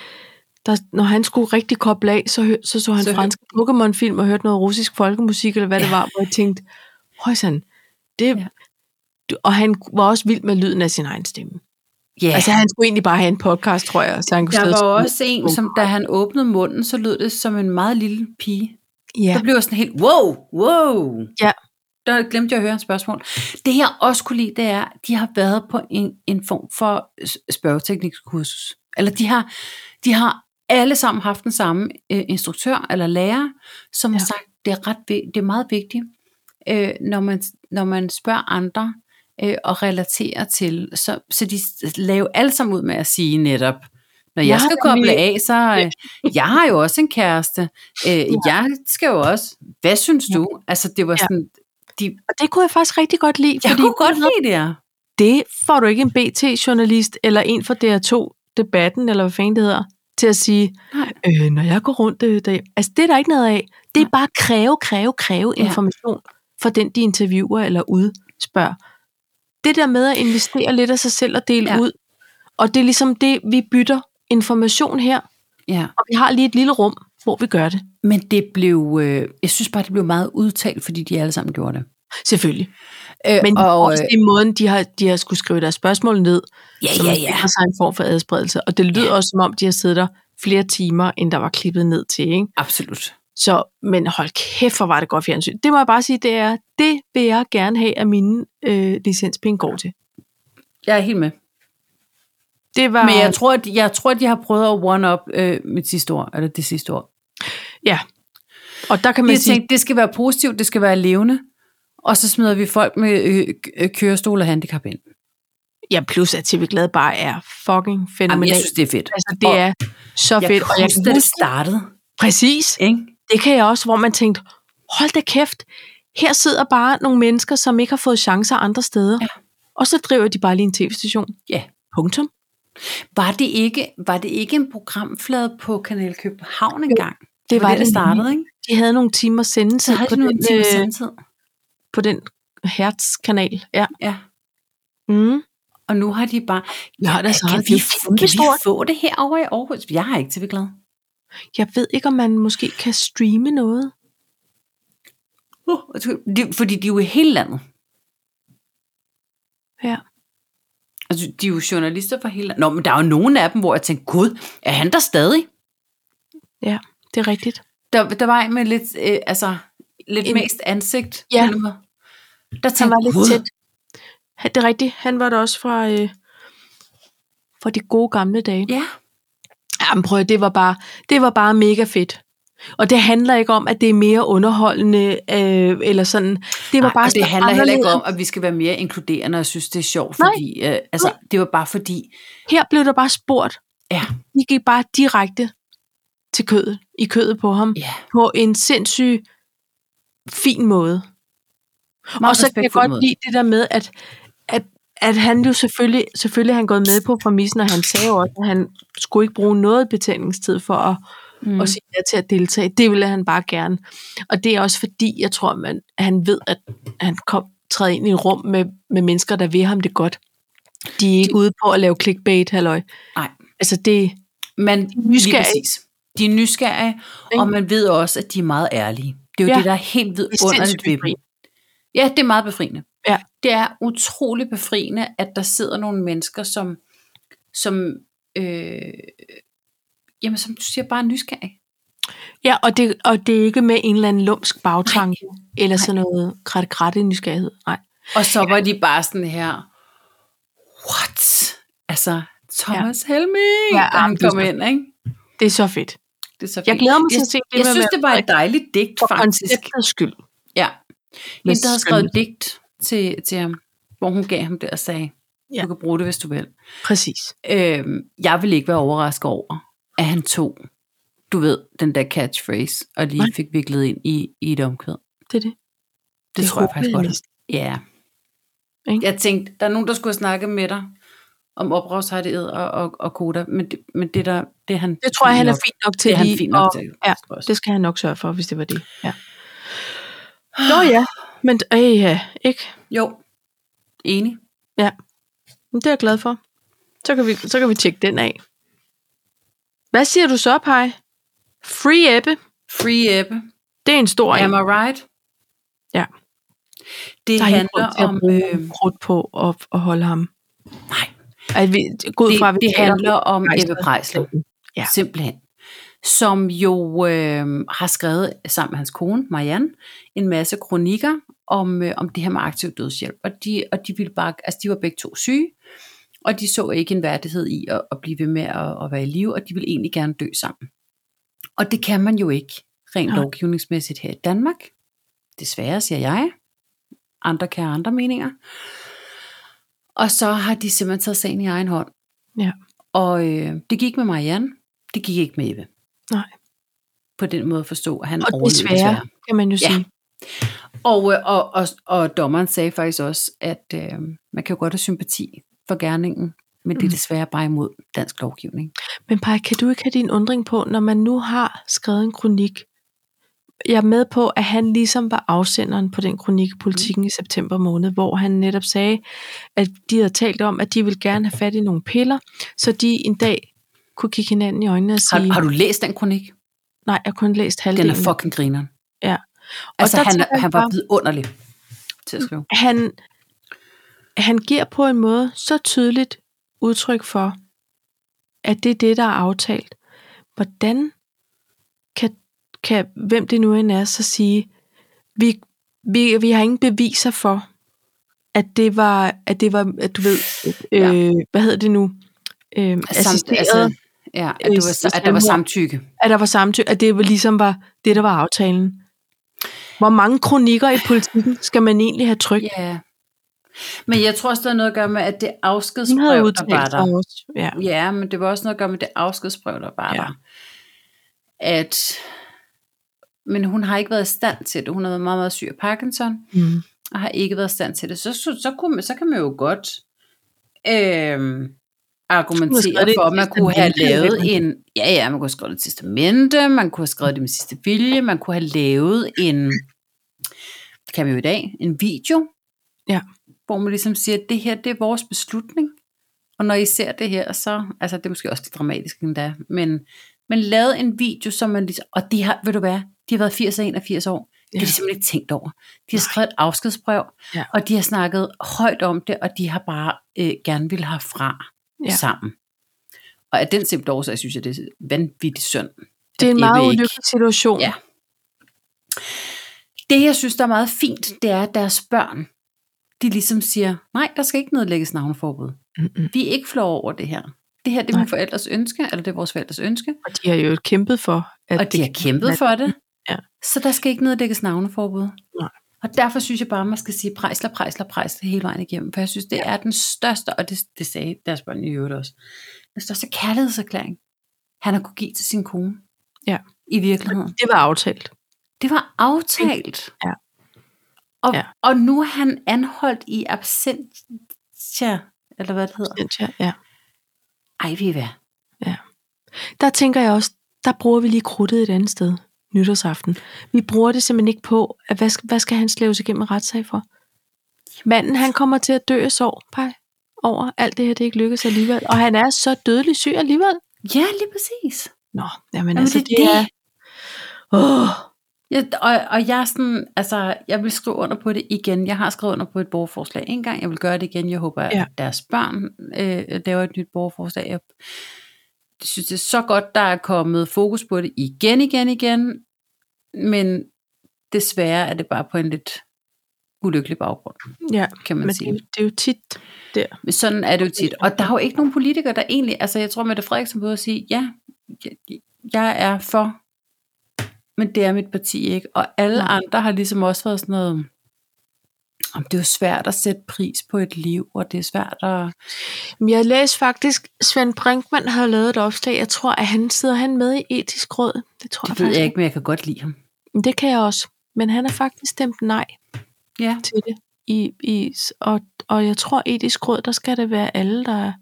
Speaker 1: Der, når han skulle rigtig koble af, så, hø- så så han
Speaker 2: Så
Speaker 1: så
Speaker 2: hø-
Speaker 1: franske Pokémon-film og hørte noget russisk folkemusik, eller hvad ja. det var, hvor jeg tænkte, højsan, det... Ja.
Speaker 2: Ja.
Speaker 1: Og han var også vild med lyden af sin egen stemme.
Speaker 2: Ja,
Speaker 1: Altså, han skulle egentlig bare have en podcast, tror jeg, så han kunne
Speaker 2: der
Speaker 1: sidde og skrive.
Speaker 2: var også en, som da han åbnede munden, så lød det som en meget lille pige.
Speaker 1: Ja,
Speaker 2: Der blev jeg sådan helt, wow, wow.
Speaker 1: Ja.
Speaker 2: Der glemte jeg at høre en spørgsmål. Det jeg også kunne lide, det er, at de har været på en, en form for s- spørgeteknikkursus. Eller de har, de har alle sammen haft den samme øh, instruktør eller lærer, som ja.
Speaker 1: Ja.
Speaker 2: har sagt, det er, ret, vi- det er meget vigtigt, øh, når, man, når man spørger andre øh, og relaterer til. Så, så de s- laver alle sammen ud med at sige netop, når
Speaker 1: Jeg
Speaker 2: jeg, jeg
Speaker 1: har
Speaker 2: skal
Speaker 1: nemlig-
Speaker 2: koble af, så øh, jeg har jo også en kæreste. Øh, jeg skal jo også. Hvad synes
Speaker 1: Ja.
Speaker 2: du? Altså, det var
Speaker 1: Ja.
Speaker 2: sådan... De,
Speaker 1: og det kunne jeg faktisk rigtig godt lide,
Speaker 2: jeg
Speaker 1: fordi
Speaker 2: kunne godt lide det her.
Speaker 1: det får du ikke en BT-journalist eller en fra DR2-debatten, eller hvad fanden det hedder, til at sige,
Speaker 2: Nej.
Speaker 1: øh, når jeg går rundt øh, der, Altså, det er der ikke noget af. Det er
Speaker 2: Nej.
Speaker 1: bare kræve, kræve, kræve
Speaker 2: Ja.
Speaker 1: information fra den, de interviewer eller udspørger. Det der med at investere lidt af sig selv og dele ja.
Speaker 2: Ja.
Speaker 1: ud, og det er ligesom det, vi bytter information her,
Speaker 2: Ja.
Speaker 1: og vi har lige et lille rum, hvor vi gør det.
Speaker 2: Men det blev... Øh, jeg synes bare, det blev meget udtalt, fordi de alle sammen gjorde det.
Speaker 1: Selvfølgelig.
Speaker 2: Øh,
Speaker 1: Men og,
Speaker 2: og, øh,
Speaker 1: også det er måden, de har, de har skulle skrive deres spørgsmål ned,
Speaker 2: ja,
Speaker 1: så
Speaker 2: ja,
Speaker 1: man
Speaker 2: ja.
Speaker 1: sikrer sig en form for adspredelse. Og det lyder også, som om de har siddet der flere timer, end der var klippet ned til. Ikke?
Speaker 2: Absolut.
Speaker 1: Så, men hold kæft, hvor var det godt fjernsyn. Det må jeg bare sige, det er, det vil jeg gerne have, at mine øh, licenspenge går til.
Speaker 2: Jeg er helt med.
Speaker 1: Det var,
Speaker 2: Men jeg tror, at, jeg tror, at de har prøvet at one-up øh, mit sidste år, eller det sidste år.
Speaker 1: ja. Og der kan man
Speaker 2: Jeg
Speaker 1: sige,
Speaker 2: tænkte, det skal være positivt, det skal være levende, og så smider vi folk med øh, øh, kørestol og handicap ind.
Speaker 1: ja, plus at TV Glad bare er fucking
Speaker 2: Jamen,
Speaker 1: fænomenal.
Speaker 2: jeg synes, det er fedt.
Speaker 1: altså, det
Speaker 2: og
Speaker 1: er så
Speaker 2: jeg
Speaker 1: fedt.
Speaker 2: Kan huske, da det startede.
Speaker 1: præcis,
Speaker 2: Ikke?
Speaker 1: det kan jeg også, hvor man tænkte, hold da kæft, Her sidder bare nogle mennesker, som ikke har fået chancer andre steder.
Speaker 2: Ja.
Speaker 1: Og så driver de bare lige en tv-station.
Speaker 2: Ja.
Speaker 1: Punktum.
Speaker 2: Var det ikke, var det ikke en programflade på Kanal København engang?
Speaker 1: Det var
Speaker 2: der
Speaker 1: det
Speaker 2: startede, ikke?
Speaker 1: De havde nogle timer
Speaker 2: Så
Speaker 1: sendetid
Speaker 2: havde
Speaker 1: på,
Speaker 2: de nogle
Speaker 1: den,
Speaker 2: timer
Speaker 1: øh,
Speaker 2: sendtid.
Speaker 1: på den Hertz-kanal. Ja.
Speaker 2: Ja.
Speaker 1: Mm.
Speaker 2: Og nu har de bare...
Speaker 1: Ja, der så
Speaker 2: kan,
Speaker 1: det
Speaker 2: vi,
Speaker 1: er
Speaker 2: kan vi
Speaker 1: kæmpestort.
Speaker 2: få det herovre i Aarhus? Jeg er ikke tv-glad.
Speaker 1: Jeg ved ikke, om man måske kan streame noget.
Speaker 2: Uh, de- fordi de er jo i hele landet.
Speaker 1: Ja.
Speaker 2: Altså, de er jo journalister fra hele landet. Nå, men der er jo nogen af dem, hvor jeg tænkte, gud, er han der stadig?
Speaker 1: ja, det er rigtigt.
Speaker 2: Der, der var en med lidt, øh, altså, lidt
Speaker 1: En-
Speaker 2: en, mest ansigt.
Speaker 1: Ja.
Speaker 2: eller hvad? Der tænkte,
Speaker 1: Han var lidt
Speaker 2: "Gud."
Speaker 1: tæt. Han- Det er rigtigt. Han var der også fra, øh, fra de gode gamle dage.
Speaker 2: Ja,
Speaker 1: Jamen prøv, at- det var, bare, det var bare mega fedt. Og det handler ikke om, at det er mere underholdende, øh, eller sådan. Det var
Speaker 2: Nej,
Speaker 1: bare
Speaker 2: og det
Speaker 1: så
Speaker 2: handler heller ikke
Speaker 1: anderledes.
Speaker 2: om, at vi skal være mere inkluderende og synes, det er sjovt.
Speaker 1: Nej.
Speaker 2: Fordi, øh, altså, det var bare fordi,
Speaker 1: Her blev der bare spurgt.
Speaker 2: ja,
Speaker 1: De gik bare direkte til kødet, i kødet på ham,
Speaker 2: ja.
Speaker 1: på en sindssyg fin måde. og så kan jeg godt lide det der med, at, at, at han jo selvfølgelig, selvfølgelig er han gået med på præmissen, og han sagde jo også, at han skulle ikke bruge noget betændingstid for at, mm. at sige ja til at deltage. Det ville han bare gerne. Og det er også fordi, jeg tror, man, at han ved, at han kom, træder ind i et rum med, med mennesker, der vil ham det godt. De er ikke ude på at lave clickbait, halløj.
Speaker 2: Nej.
Speaker 1: Altså det,
Speaker 2: Men
Speaker 1: nysgerrige.
Speaker 2: nysgerrige. Lige præcis. De er nysgerrige,
Speaker 1: Ikke?
Speaker 2: og man ved også, at de er meget ærlige. Det er jo
Speaker 1: Ja.
Speaker 2: ja. det, der er helt
Speaker 1: det er
Speaker 2: vidunderligt
Speaker 1: sindssygt
Speaker 2: ved dem. Ja, det er meget befriende.
Speaker 1: Ja.
Speaker 2: Det er utrolig befriende, at der sidder nogle mennesker, som, som øh, jamen, som du siger, bare er nysgerrige.
Speaker 1: Ja, og det, og det er ikke med en eller anden lumsk bagtanke, Nej. eller sådan noget kratte-kratte nysgerrighed. Nej.
Speaker 2: Og så var de bare sådan her, what? Altså, Thomas ja. Helming,
Speaker 1: Ja,
Speaker 2: ja,
Speaker 1: jamen,
Speaker 2: han
Speaker 1: det er
Speaker 2: kom
Speaker 1: så-
Speaker 2: ind, ikke?
Speaker 1: Det er så fedt.
Speaker 2: Det er så
Speaker 1: Jeg
Speaker 2: fint.
Speaker 1: glæder mig til
Speaker 2: jeg,
Speaker 1: at se det
Speaker 2: jeg
Speaker 1: med
Speaker 2: synes,
Speaker 1: Mette
Speaker 2: det var et dejligt digt,
Speaker 1: for
Speaker 2: faktisk.
Speaker 1: konceptets skyld.
Speaker 2: Ja.
Speaker 1: Men
Speaker 2: Hende, der havde skrevet
Speaker 1: skønligt.
Speaker 2: digt til, til ham, hvor hun gav ham det og sagde,
Speaker 1: Ja.
Speaker 2: ja. du kan bruge det, hvis du vil.
Speaker 1: Præcis.
Speaker 2: Øhm, jeg vil ikke være overrasket over, at han tog, du ved, den der catchphrase, og lige
Speaker 1: Nej.
Speaker 2: fik viklet ind i, i et omkvæd. Det,
Speaker 1: Det er det.
Speaker 2: det tror jeg
Speaker 1: håber
Speaker 2: faktisk godt.
Speaker 1: næsten.
Speaker 2: Ja.
Speaker 1: Ikke?
Speaker 2: Jeg tænkte, der er nogen, der skulle snakke med dig om ophavsrettighed og, og, og koda, men det, men det der, det er han...
Speaker 1: Det tror jeg, han er
Speaker 2: nok-
Speaker 1: fint nok til
Speaker 2: Det er han
Speaker 1: lige
Speaker 2: fint nok
Speaker 1: at-
Speaker 2: til.
Speaker 1: Ja,
Speaker 2: også.
Speaker 1: det skal han nok sørge for, hvis det var det. Ja. Nå ja, men øh, ja, ikke?
Speaker 2: Jo, enig.
Speaker 1: Men det er jeg glad for. Så kan vi, så kan vi tjekke den af. Hvad siger du så, Paj? Free Ebbe,
Speaker 2: Free Ebbe.
Speaker 1: det er en stor
Speaker 2: Am
Speaker 1: en.
Speaker 2: I right?
Speaker 1: Ja.
Speaker 2: Det
Speaker 1: Der er ikke grund
Speaker 2: handler
Speaker 1: til at
Speaker 2: om...
Speaker 1: bruge
Speaker 2: Øh,
Speaker 1: krudt på at, at holde ham.
Speaker 2: nej,
Speaker 1: At vi, gå ud
Speaker 2: det,
Speaker 1: fra, at vi
Speaker 2: det
Speaker 1: taler
Speaker 2: handler om
Speaker 1: Preisler.
Speaker 2: Ebbe Prejsler,
Speaker 1: Ja.
Speaker 2: ja. simpelthen. Som jo øh, har skrevet sammen med hans kone, Marianne, en masse kronikker om, øh, om det her med aktiv dødshjælp. Og de, og de, ville bare, altså, de var begge to syge, og de så ikke en værdighed i at, at blive ved med at, at være i live, og de ville egentlig gerne dø sammen. Og det kan man jo ikke rent
Speaker 1: Nej.
Speaker 2: lovgivningsmæssigt her i Danmark. Desværre, siger jeg. Andre kan have andre meninger. Og så har de simpelthen taget sagen i egen hånd.
Speaker 1: Ja.
Speaker 2: Og øh, det gik med Marianne. Det gik ikke med Ebbe.
Speaker 1: Nej.
Speaker 2: På den måde at forstå, at han
Speaker 1: Og
Speaker 2: overlevede
Speaker 1: desværre, kan man jo
Speaker 2: Ja.
Speaker 1: sige.
Speaker 2: Og, øh, og, og, og dommeren sagde faktisk også, at øh, man kan jo godt have sympati for gerningen, men det er
Speaker 1: Mm.
Speaker 2: desværre bare imod dansk lovgivning.
Speaker 1: Men Paj, kan du ikke have din undring på, når man nu har skrevet en kronik? Jeg er med på, at han ligesom var afsenderen på den kronik i politikken mm. i september måned, hvor han netop sagde, at de havde talt om, at de ville gerne have fat i nogle piller, så de en dag kunne kigge hinanden i øjnene og sige,
Speaker 2: Har, har du læst den kronik?
Speaker 1: nej, jeg har kun læst
Speaker 2: Den
Speaker 1: halvdelen.
Speaker 2: er fucking grineren.
Speaker 1: Ja.
Speaker 2: Altså,
Speaker 1: der
Speaker 2: han,
Speaker 1: tænker jeg
Speaker 2: han var
Speaker 1: bare- Mm.
Speaker 2: vidunderlig til at skrive.
Speaker 1: han, han giver på en måde så tydeligt udtryk for, at det er det, der er aftalt. Hvordan kan, kan hvem det nu end er, så sige, vi, vi, vi har ingen beviser for, at det var, at det var, at du ved, øh,
Speaker 2: Ja.
Speaker 1: ja. hvad hedder det nu, øh,
Speaker 2: Samt,
Speaker 1: assisteret,
Speaker 2: altså, ja, at, det var,
Speaker 1: øh,
Speaker 2: at der var
Speaker 1: selvmord.
Speaker 2: samtykke.
Speaker 1: at der var samtykke, at det var ligesom var det, der var aftalen. Hvor mange kronikker i politikken skal man egentlig have trykt?
Speaker 2: Ja. Men jeg tror også, der er noget at gøre med, at det
Speaker 1: Hun havde
Speaker 2: afskedsbrev, der var
Speaker 1: udtalt sig
Speaker 2: der.
Speaker 1: også. Ja.
Speaker 2: Ja, men det var også noget at gøre med det afskedsbrev, der var
Speaker 1: Ja.
Speaker 2: ja. der. At men hun har ikke været i stand til det. Hun har været meget, meget syg af Parkinson,
Speaker 1: Mm.
Speaker 2: og har ikke været i stand til det. Så, så, så, kunne man, så kan man jo godt øh,
Speaker 1: Måske er
Speaker 2: argumentere
Speaker 1: det
Speaker 2: for,
Speaker 1: et
Speaker 2: at man kunne have
Speaker 1: testamente,
Speaker 2: lavet
Speaker 1: eller-
Speaker 2: en... Ja, ja, man kunne have skrevet et testamente, man kunne have skrevet det med sidste vilje, man kunne have lavet en... Det kan vi jo i dag. En video.
Speaker 1: Ja.
Speaker 2: Hvor man ligesom siger, at det her, det er vores beslutning. Og når I ser det her, så... Altså, det er måske også lidt dramatisk endda, men... Men lavet en video, som man ligesom... Og de har, ved du hvad, de har været 80 og 81 år.
Speaker 1: Ja.
Speaker 2: Det har de simpelthen ikke tænkt over. De har skrevet et afskedsbrev,
Speaker 1: Ja.
Speaker 2: og de har snakket højt om det, og de har bare øh, gerne vil have fra
Speaker 1: Ja.
Speaker 2: ja. sammen. Og af den simple årsag, synes jeg, det er vanvittigt synd.
Speaker 1: Det er en
Speaker 2: at
Speaker 1: meget
Speaker 2: Ebbe ikke-
Speaker 1: ulykkelig situation.
Speaker 2: Ja. Det, jeg synes, der er meget fint, det er, at deres børn, de ligesom siger, nej, der skal ikke nedlægges navneforbud.
Speaker 1: Mm-mm.
Speaker 2: Vi er ikke flove over det her. Det her, det er
Speaker 1: Nej.
Speaker 2: mine forældres ønske, eller det er vores forældres ønske,
Speaker 1: Og de har jo kæmpet for, at
Speaker 2: og de har
Speaker 1: kan-
Speaker 2: kæmpet for det.
Speaker 1: Ja.
Speaker 2: Så der skal ikke nedlægges navneforbud.
Speaker 1: Nej.
Speaker 2: Og derfor synes jeg bare, man skal sige prejsler, prejsler, prejsler hele vejen igennem. For jeg synes, det er den største, og det, det sagde deres børn i øvrigt også, den største kærlighedserklæring, han har kunne give til sin kone.
Speaker 1: Ja.
Speaker 2: I virkeligheden.
Speaker 1: Det var aftalt.
Speaker 2: Det var aftalt.
Speaker 1: Ja.
Speaker 2: Og,
Speaker 1: Ja.
Speaker 2: og nu er han anholdt i absentia, eller hvad det hedder.
Speaker 1: Ja.
Speaker 2: Ej, vi hvad?
Speaker 1: Der tænker jeg også, der bruger vi lige krudtet et andet sted nytårsaften. Vi bruger det simpelthen ikke på, at hvad, skal- hvad skal han slæves igennem en retssag for? Manden, han kommer til at dø af sorg pej, over alt det her, det ikke lykkes alligevel. Og han er så dødelig syg alligevel.
Speaker 2: Ja, lige præcis.
Speaker 1: Nå, jamen, jamen
Speaker 2: Jamen,
Speaker 1: altså,
Speaker 2: det er det.
Speaker 1: Åh,
Speaker 2: Ja, og, og jeg er sådan, altså, jeg vil skrive under på det igen. Jeg har skrevet under på et borgerforslag en gang. Jeg vil gøre det igen. Jeg håber,
Speaker 1: Ja.
Speaker 2: ja. at deres børn øh, laver et nyt borgerforslag. Jeg synes, det er så godt, der er kommet fokus på det igen, igen, igen. Men desværre er det bare på en lidt ulykkelig baggrund,
Speaker 1: ja,
Speaker 2: kan man
Speaker 1: men det,
Speaker 2: sige.
Speaker 1: er jo- det er jo tit der.
Speaker 2: Men sådan er det jo tit. Og der er jo ikke nogen politikere, der egentlig... Altså, jeg tror, Mette Frederiksen både at sige, ja, jeg- jeg er for, men det er mit parti ikke. Og alle
Speaker 1: Nej.
Speaker 2: andre har ligesom også været sådan noget... Om det er jo svært at sætte pris på et liv, og det er svært at...
Speaker 1: Men Jeg læste faktisk, Svend Brinkmann har lavet et opslag. Jeg tror, at han sidder han med i etisk råd. Det tror jeg
Speaker 2: Det ved
Speaker 1: faktisk.
Speaker 2: jeg ikke, men jeg kan godt lide ham.
Speaker 1: Men Det kan jeg også. Men han har faktisk stemt nej
Speaker 2: Ja.
Speaker 1: til det. I, i, og, og jeg tror, etisk råd, der skal det være alle, der er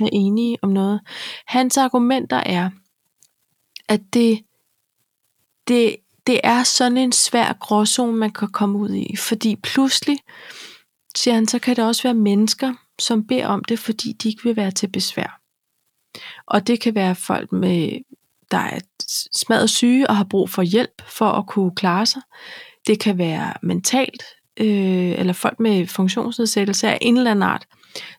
Speaker 1: er enige om noget. Hans argumenter er, at det, det, det er sådan en svær gråzone, man kan komme ud i. Fordi pludselig, siger han, så kan der også være mennesker, som beder om det, fordi de ikke vil være til besvær. Og det kan være folk med der er smadret syge og har brug for hjælp for at kunne klare sig. Det kan være mentalt, øh, eller folk med funktionsnedsættelse af en eller anden art,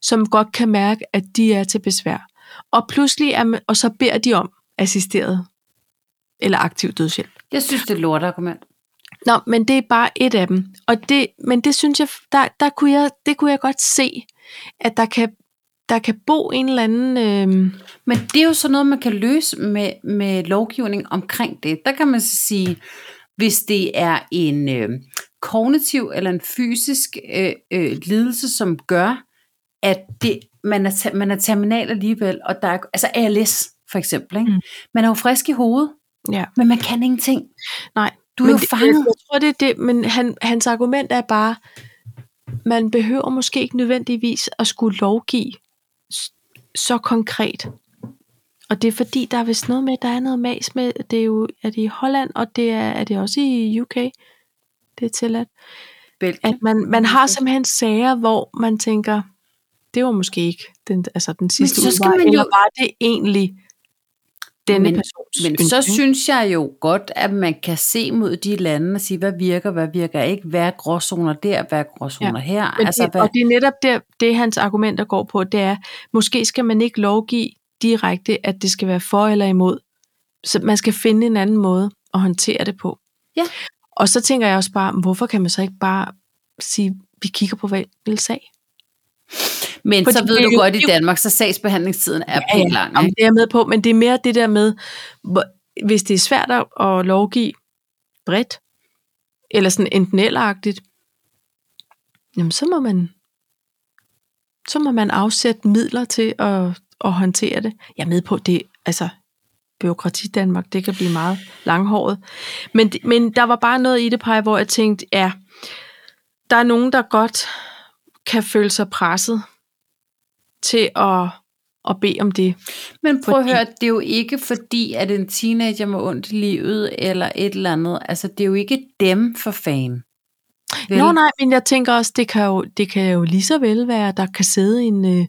Speaker 1: som godt kan mærke, at de er til besvær. Og pludselig er man, og så beder de om assisteret eller aktiv dødshjælp.
Speaker 2: Jeg synes, det er et lortargument.
Speaker 1: Nå, men det er bare et af dem. Og det, men det synes jeg, der, der kunne jeg, det kunne jeg godt se, at der kan, der kan bo en eller anden... Øh,
Speaker 2: Men det er jo sådan noget, man kan løse med, med lovgivning omkring det. Der kan man så sige, hvis det er en øh, kognitiv eller en fysisk øh, øh, lidelse, som gør, at det, man, er, ter- man er terminal alligevel, og der er, altså ALS for eksempel, ikke?
Speaker 1: Mm.
Speaker 2: Mm. man er jo frisk i hovedet,
Speaker 1: Ja.
Speaker 2: men man kan ingenting.
Speaker 1: Nej,
Speaker 2: Du er
Speaker 1: men
Speaker 2: jo
Speaker 1: det-
Speaker 2: fanget.
Speaker 1: Jeg, jeg tror, det er det, men han, hans argument er bare, man behøver måske ikke nødvendigvis at skulle lovgive s- så konkret. Og det er fordi, der er vist noget med, der er noget mas med, det er jo, er det i Holland, og det er, er det også i UK, det er tilladt.
Speaker 2: Belgien.
Speaker 1: At man, man har simpelthen sager, hvor man tænker, det var måske ikke den, altså den sidste
Speaker 2: så skal
Speaker 1: udvej,
Speaker 2: man jo-
Speaker 1: eller var det egentlig denne
Speaker 2: Men-
Speaker 1: persons
Speaker 2: Men
Speaker 1: ønske?
Speaker 2: så synes jeg jo godt, at man kan se mod de lande og sige, hvad virker, hvad virker ikke, hvad er gråzoner der, hvad er gråzoner ja. her.
Speaker 1: Men altså, det,
Speaker 2: hvad,
Speaker 1: og det er netop der, det, hans argumenter går på, det er, måske skal man ikke lovgive direkte, at det skal være for eller imod. Så man skal finde en anden måde at håndtere det på.
Speaker 2: Ja.
Speaker 1: Og så tænker jeg også bare, hvorfor kan man så ikke bare sige, vi kigger på hver enkelt sag?
Speaker 2: Men
Speaker 1: Fordi
Speaker 2: så ved
Speaker 1: det er
Speaker 2: du
Speaker 1: jo-
Speaker 2: godt, i
Speaker 1: det er jo-
Speaker 2: Danmark, så sagsbehandlingstiden er ja, pænt lang.
Speaker 1: Jamen,
Speaker 2: Ikke?
Speaker 1: det er jeg med på, men det er mere det der med, hvor- hvis det er svært at- at lovgive bredt, eller sådan enten elleragtigt, jamen så må man så må man afsætte midler til at, at håndtere det. Jeg er med på det, altså byråkrati Danmark, det kan blive meget langhåret. Men, men der var bare noget i det, Paj, hvor jeg tænkte, ja, der er nogen, der godt kan føle sig presset til at, at bede om det.
Speaker 2: Men prøv
Speaker 1: Fordi-
Speaker 2: at høre, det er jo ikke fordi, at en teenager må ondt i livet, eller et eller andet. Altså, det er jo ikke dem for fan.
Speaker 1: Vel. Nå nej, men jeg tænker også, det kan jo, det kan jo lige så vel være, at der kan sidde en, øh,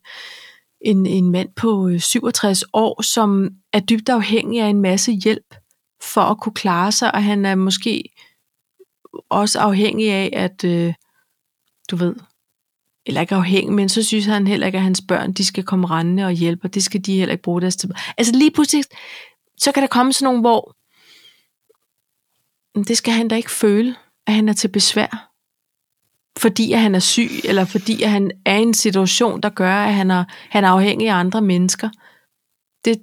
Speaker 1: en, en mand på øh, 67 år, som er dybt afhængig af en masse hjælp for at kunne klare sig, og han er måske også afhængig af, at øh, du ved, eller ikke afhængig, men så synes han heller ikke, at hans børn, de skal komme rendende og hjælpe, og det skal de heller ikke bruge deres tid på. Altså lige pludselig, så kan der komme sådan nogle, hvor "Men det skal han da ikke føle, at han er til besvær fordi at han er syg, eller fordi at han er i en situation, der gør, at han er, han er afhængig af andre mennesker. Det,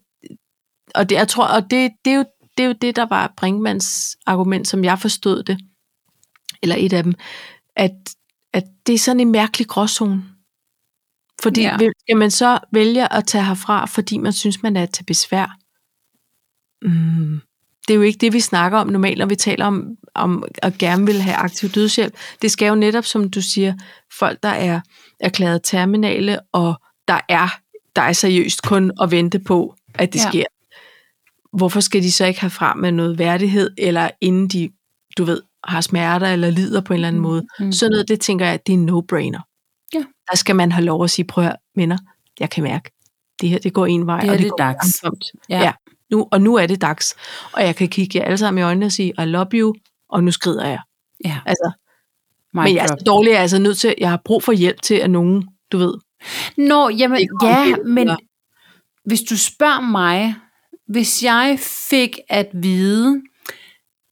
Speaker 1: og det, jeg tror, og det, det, er jo, det er jo det, der var Brinkmans argument, som jeg forstod det, eller et af dem, at, at det er sådan en mærkelig gråzone. Fordi
Speaker 2: Ja.
Speaker 1: ja. skal man så vælge at tage herfra, fordi man synes, man er til besvær? Mm. Det er jo ikke det, vi snakker om normalt, når vi taler om, om at gerne vil have aktiv dødshjælp. Det skal jo netop, som du siger, folk, der er erklæret terminale, og der er, der er seriøst kun at vente på, at det
Speaker 2: Ja.
Speaker 1: ja. sker. Hvorfor skal de så ikke have frem med noget værdighed, eller inden de, du ved, har smerter eller lider på en eller anden
Speaker 2: Mm,
Speaker 1: måde?
Speaker 2: mm.
Speaker 1: Sådan noget, det tænker jeg, det er en no-brainer.
Speaker 2: Ja.
Speaker 1: Der skal man have lov at sige, prøv at høre, venner, jeg kan mærke, det her, det går en vej,
Speaker 2: Det her,
Speaker 1: og det,
Speaker 2: det er
Speaker 1: går
Speaker 2: dags."
Speaker 1: langsomt.
Speaker 2: Ja.
Speaker 1: Ja. ja. Nu, og nu er det dags. Og jeg kan kigge jer alle sammen i øjnene og sige, I love you, og nu skrider jeg.
Speaker 2: Ja,
Speaker 1: Altså,
Speaker 2: mic
Speaker 1: men jeg er
Speaker 2: drop.
Speaker 1: så dårlig, jeg er altså nødt til, jeg har brug for hjælp til, at nogen, du ved.
Speaker 2: Nå, jamen,
Speaker 1: Det kan
Speaker 2: ja,
Speaker 1: man jo
Speaker 2: men
Speaker 1: gøre.
Speaker 2: hvis du spørger mig, hvis jeg fik at vide,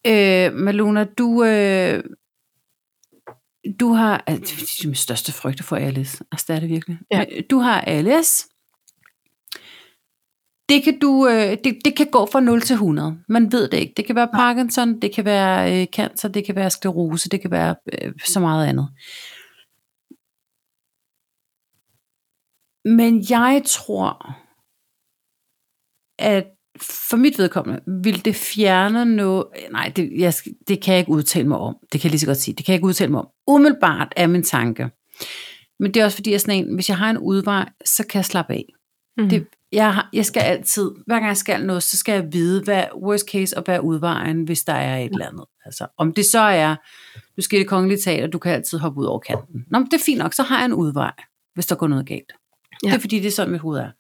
Speaker 2: øh, Maluna, du, øh, du har, altså, det er min største frygt for ALS, altså det er det virkelig.
Speaker 1: Ja.
Speaker 2: Men Du har ALS, det kan, du, øh, det, det kan gå fra 0 til 100. Man ved det ikke. Det kan være Parkinson, det kan være øh, cancer, det kan være sklerose, det kan være øh, så meget andet. Men jeg tror, at for mit vedkommende, vil det fjerne noget... Nej, det, jeg, skal- det kan jeg ikke udtale mig om. Det kan jeg lige så godt sige. Det kan jeg ikke udtale mig om. Umiddelbart er min tanke. Men det er også fordi, jeg er sådan en, hvis jeg har en udvej, så kan jeg slappe af.
Speaker 1: Mm.
Speaker 2: Det, jeg, har, jeg skal altid, hver gang jeg skal noget, så skal jeg vide, hvad worst case og hvad er udvejen, hvis der er et eller andet. Altså, om det så er, du skal i det kongelige teater, du kan altid hoppe ud over kanten. Nå, men det er fint nok, så har jeg en udvej, hvis der går noget galt. Ja.
Speaker 1: Ja.
Speaker 2: Det er fordi, det er sådan, mit hoved er.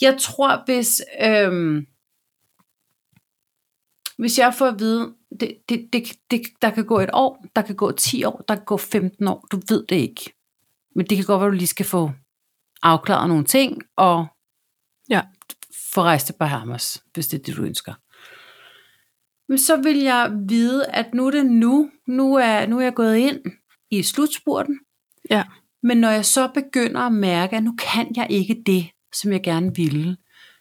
Speaker 2: Jeg tror, hvis, øhm, hvis jeg får at vide, det, det, det, det, der kan gå et år, der kan gå 10 år, der kan gå 15 år, du ved det ikke. Men det kan godt være, du lige skal få afklaret nogle ting, og
Speaker 1: Ja.
Speaker 2: få rejst til Bahamas, hvis det er det, du ønsker. Men så vil jeg vide, at nu er det nu. Nu er, nu er jeg gået ind i slutspurten.
Speaker 1: Ja.
Speaker 2: Men når jeg så begynder at mærke, at nu kan jeg ikke det, som jeg gerne ville.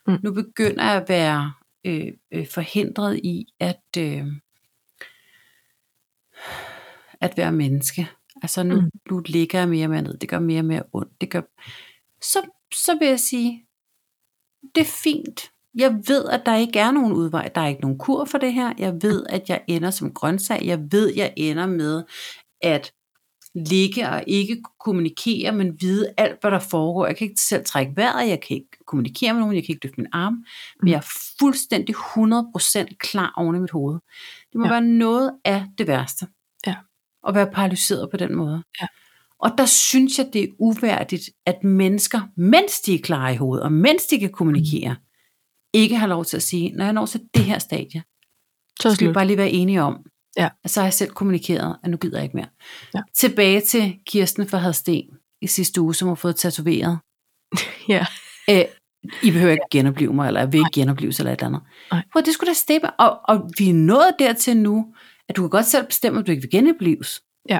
Speaker 1: Mm.
Speaker 2: Nu begynder jeg at være øh, øh, forhindret i at, øh, at være menneske. Altså nu,
Speaker 1: Mm.
Speaker 2: mm. nu ligger jeg mere og mere ned. Det gør mere og mere ondt. Det gør, så, så vil jeg sige, det er fint. Jeg ved, at der ikke er nogen udvej. Der er ikke nogen kur for det her. Jeg ved, at jeg ender som grøntsag. Jeg ved, jeg ender med at ligge og ikke kommunikere, men vide alt, hvad der foregår. Jeg kan ikke selv trække vejret. Jeg kan ikke kommunikere med nogen. Jeg kan ikke løfte min arm.
Speaker 1: Mm.
Speaker 2: Men jeg er fuldstændig 100% klar oven i mit hoved. Det må
Speaker 1: Ja.
Speaker 2: ja. være noget af det værste.
Speaker 1: Ja.
Speaker 2: At være paralyseret på den måde.
Speaker 1: Ja.
Speaker 2: Og der synes jeg, det er uværdigt, at mennesker, mens de er klar i hovedet, og mens de kan
Speaker 1: Mm.
Speaker 2: kommunikere, ikke har lov til at sige, når jeg når til det her stadie,
Speaker 1: Så
Speaker 2: så skal vi
Speaker 1: slut.
Speaker 2: bare lige være enige om,
Speaker 1: Ja.
Speaker 2: at så har jeg selv kommunikeret, at nu gider jeg ikke mere.
Speaker 1: Ja.
Speaker 2: Tilbage til Kirsten fra Hadsten i sidste uge, som har fået tatoveret.
Speaker 1: Ja.
Speaker 2: Æ, I behøver ikke genopleve mig, eller jeg vil ikke genopleve eller et eller andet.
Speaker 1: Nej.
Speaker 2: Prøv, det skulle da steppe. Og, og vi er nået dertil nu, at du kan godt selv bestemme, at du ikke vil genopleves.
Speaker 1: Ja.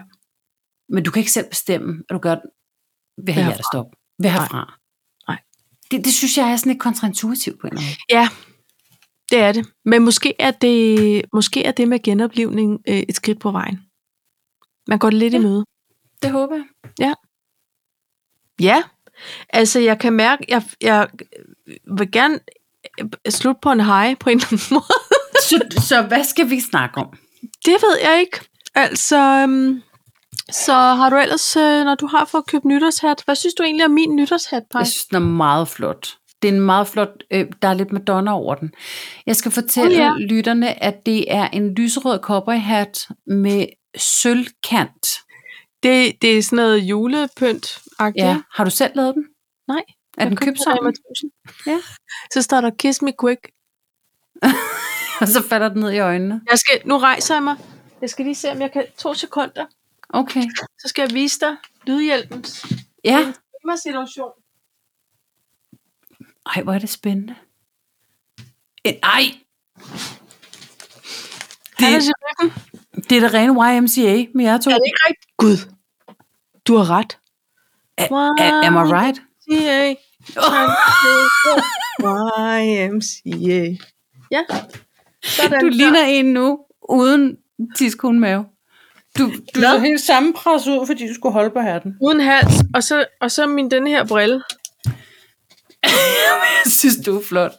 Speaker 2: Men du kan ikke selv bestemme, at du gør vil have
Speaker 1: herfra.
Speaker 2: hjertestop. Vil have fra.
Speaker 1: Nej.
Speaker 2: Det, det, synes jeg er sådan lidt kontraintuitivt på en eller anden måde.
Speaker 1: Ja, det er det. Men måske er det, måske er det med genoplivning øh, et skridt på vejen. Man går det lidt ja. i
Speaker 2: Ja.
Speaker 1: møde.
Speaker 2: Det håber jeg.
Speaker 1: Ja, altså jeg kan mærke, jeg, jeg vil gerne øh, slut på en hej på en eller anden måde.
Speaker 2: Så, så hvad skal vi snakke om?
Speaker 1: Det ved jeg ikke. Altså, øhm, så har du ellers, øh, når du har fået købt nytårshat, hvad synes du egentlig om min nytårshat, Paj?
Speaker 2: Jeg synes, den er meget flot. Det er en meget flot, øh, der er lidt Madonna over den. Jeg skal fortælle
Speaker 1: Oh,
Speaker 2: oh,
Speaker 1: ja.
Speaker 2: ja. lytterne, at det er en lyserød cowboyhat med sølvkant.
Speaker 1: Det, det er sådan noget julepynt
Speaker 2: Ja. ja. Har du selv lavet den?
Speaker 1: Nej.
Speaker 2: Er den købt sammen?
Speaker 1: Ja. Så står der kiss me quick.
Speaker 2: Og så falder den ned i øjnene.
Speaker 1: Jeg skal, nu rejser jeg mig. Jeg skal lige se, om jeg kan. To sekunder.
Speaker 2: Okay.
Speaker 1: Så skal jeg vise dig lydhjælpens
Speaker 2: Ja.
Speaker 1: situation.
Speaker 2: Ej, hvor er det spændende. En- Ej,
Speaker 1: Det,
Speaker 2: Det- det er det rene YMCA med jer to.
Speaker 1: er det ikke rigtigt? Gud, du har ret.
Speaker 2: A- Am I right?
Speaker 1: YMCA.
Speaker 2: Åh,
Speaker 1: YMCA. Ja. Sådan
Speaker 2: Du
Speaker 1: der.
Speaker 2: ligner en nu, uden tidskone mave. Du, du
Speaker 1: Nå.
Speaker 2: så helt sammenpresset ud, fordi du skulle holde på hatten.
Speaker 1: Uden hals, og så, og så min den her brille.
Speaker 2: Jeg synes, du er flot.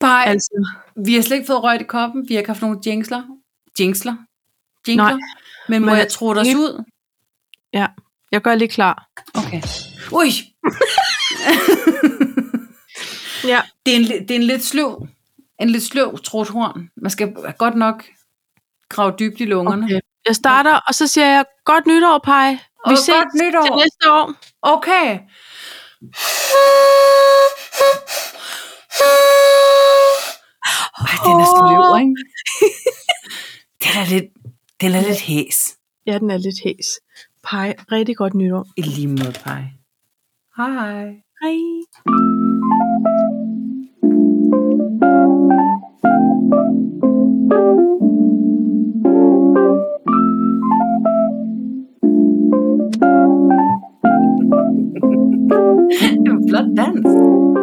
Speaker 2: Bare, altså,
Speaker 1: Altså,
Speaker 2: vi har slet ikke fået røget i koppen. Vi har ikke haft nogen jinxler. Jinxler? Jinkler?
Speaker 1: Nej.
Speaker 2: Men må
Speaker 1: Men-
Speaker 2: jeg tro dig
Speaker 1: Lige-
Speaker 2: ud?
Speaker 1: ja, jeg gør lige klar.
Speaker 2: Okay. Ui!
Speaker 1: Ja,
Speaker 2: Det er en, li- det er en lidt sløv, en lidt sløv trothorn. Man skal godt nok grave dybt i lungerne.
Speaker 1: okay. Jeg starter, og så siger jeg, godt nytår, Paj. Vi
Speaker 2: Og
Speaker 1: ses
Speaker 2: godt nytår.
Speaker 1: til næste år.
Speaker 2: Okay. Ej, den er sløv, ikke? Den er lidt, den er lidt hæs.
Speaker 1: Ja, den er lidt hæs. Pej, rigtig godt nytår.
Speaker 2: I lige måde, Paj. Hej.
Speaker 1: Hej.
Speaker 2: Det var en flot dans.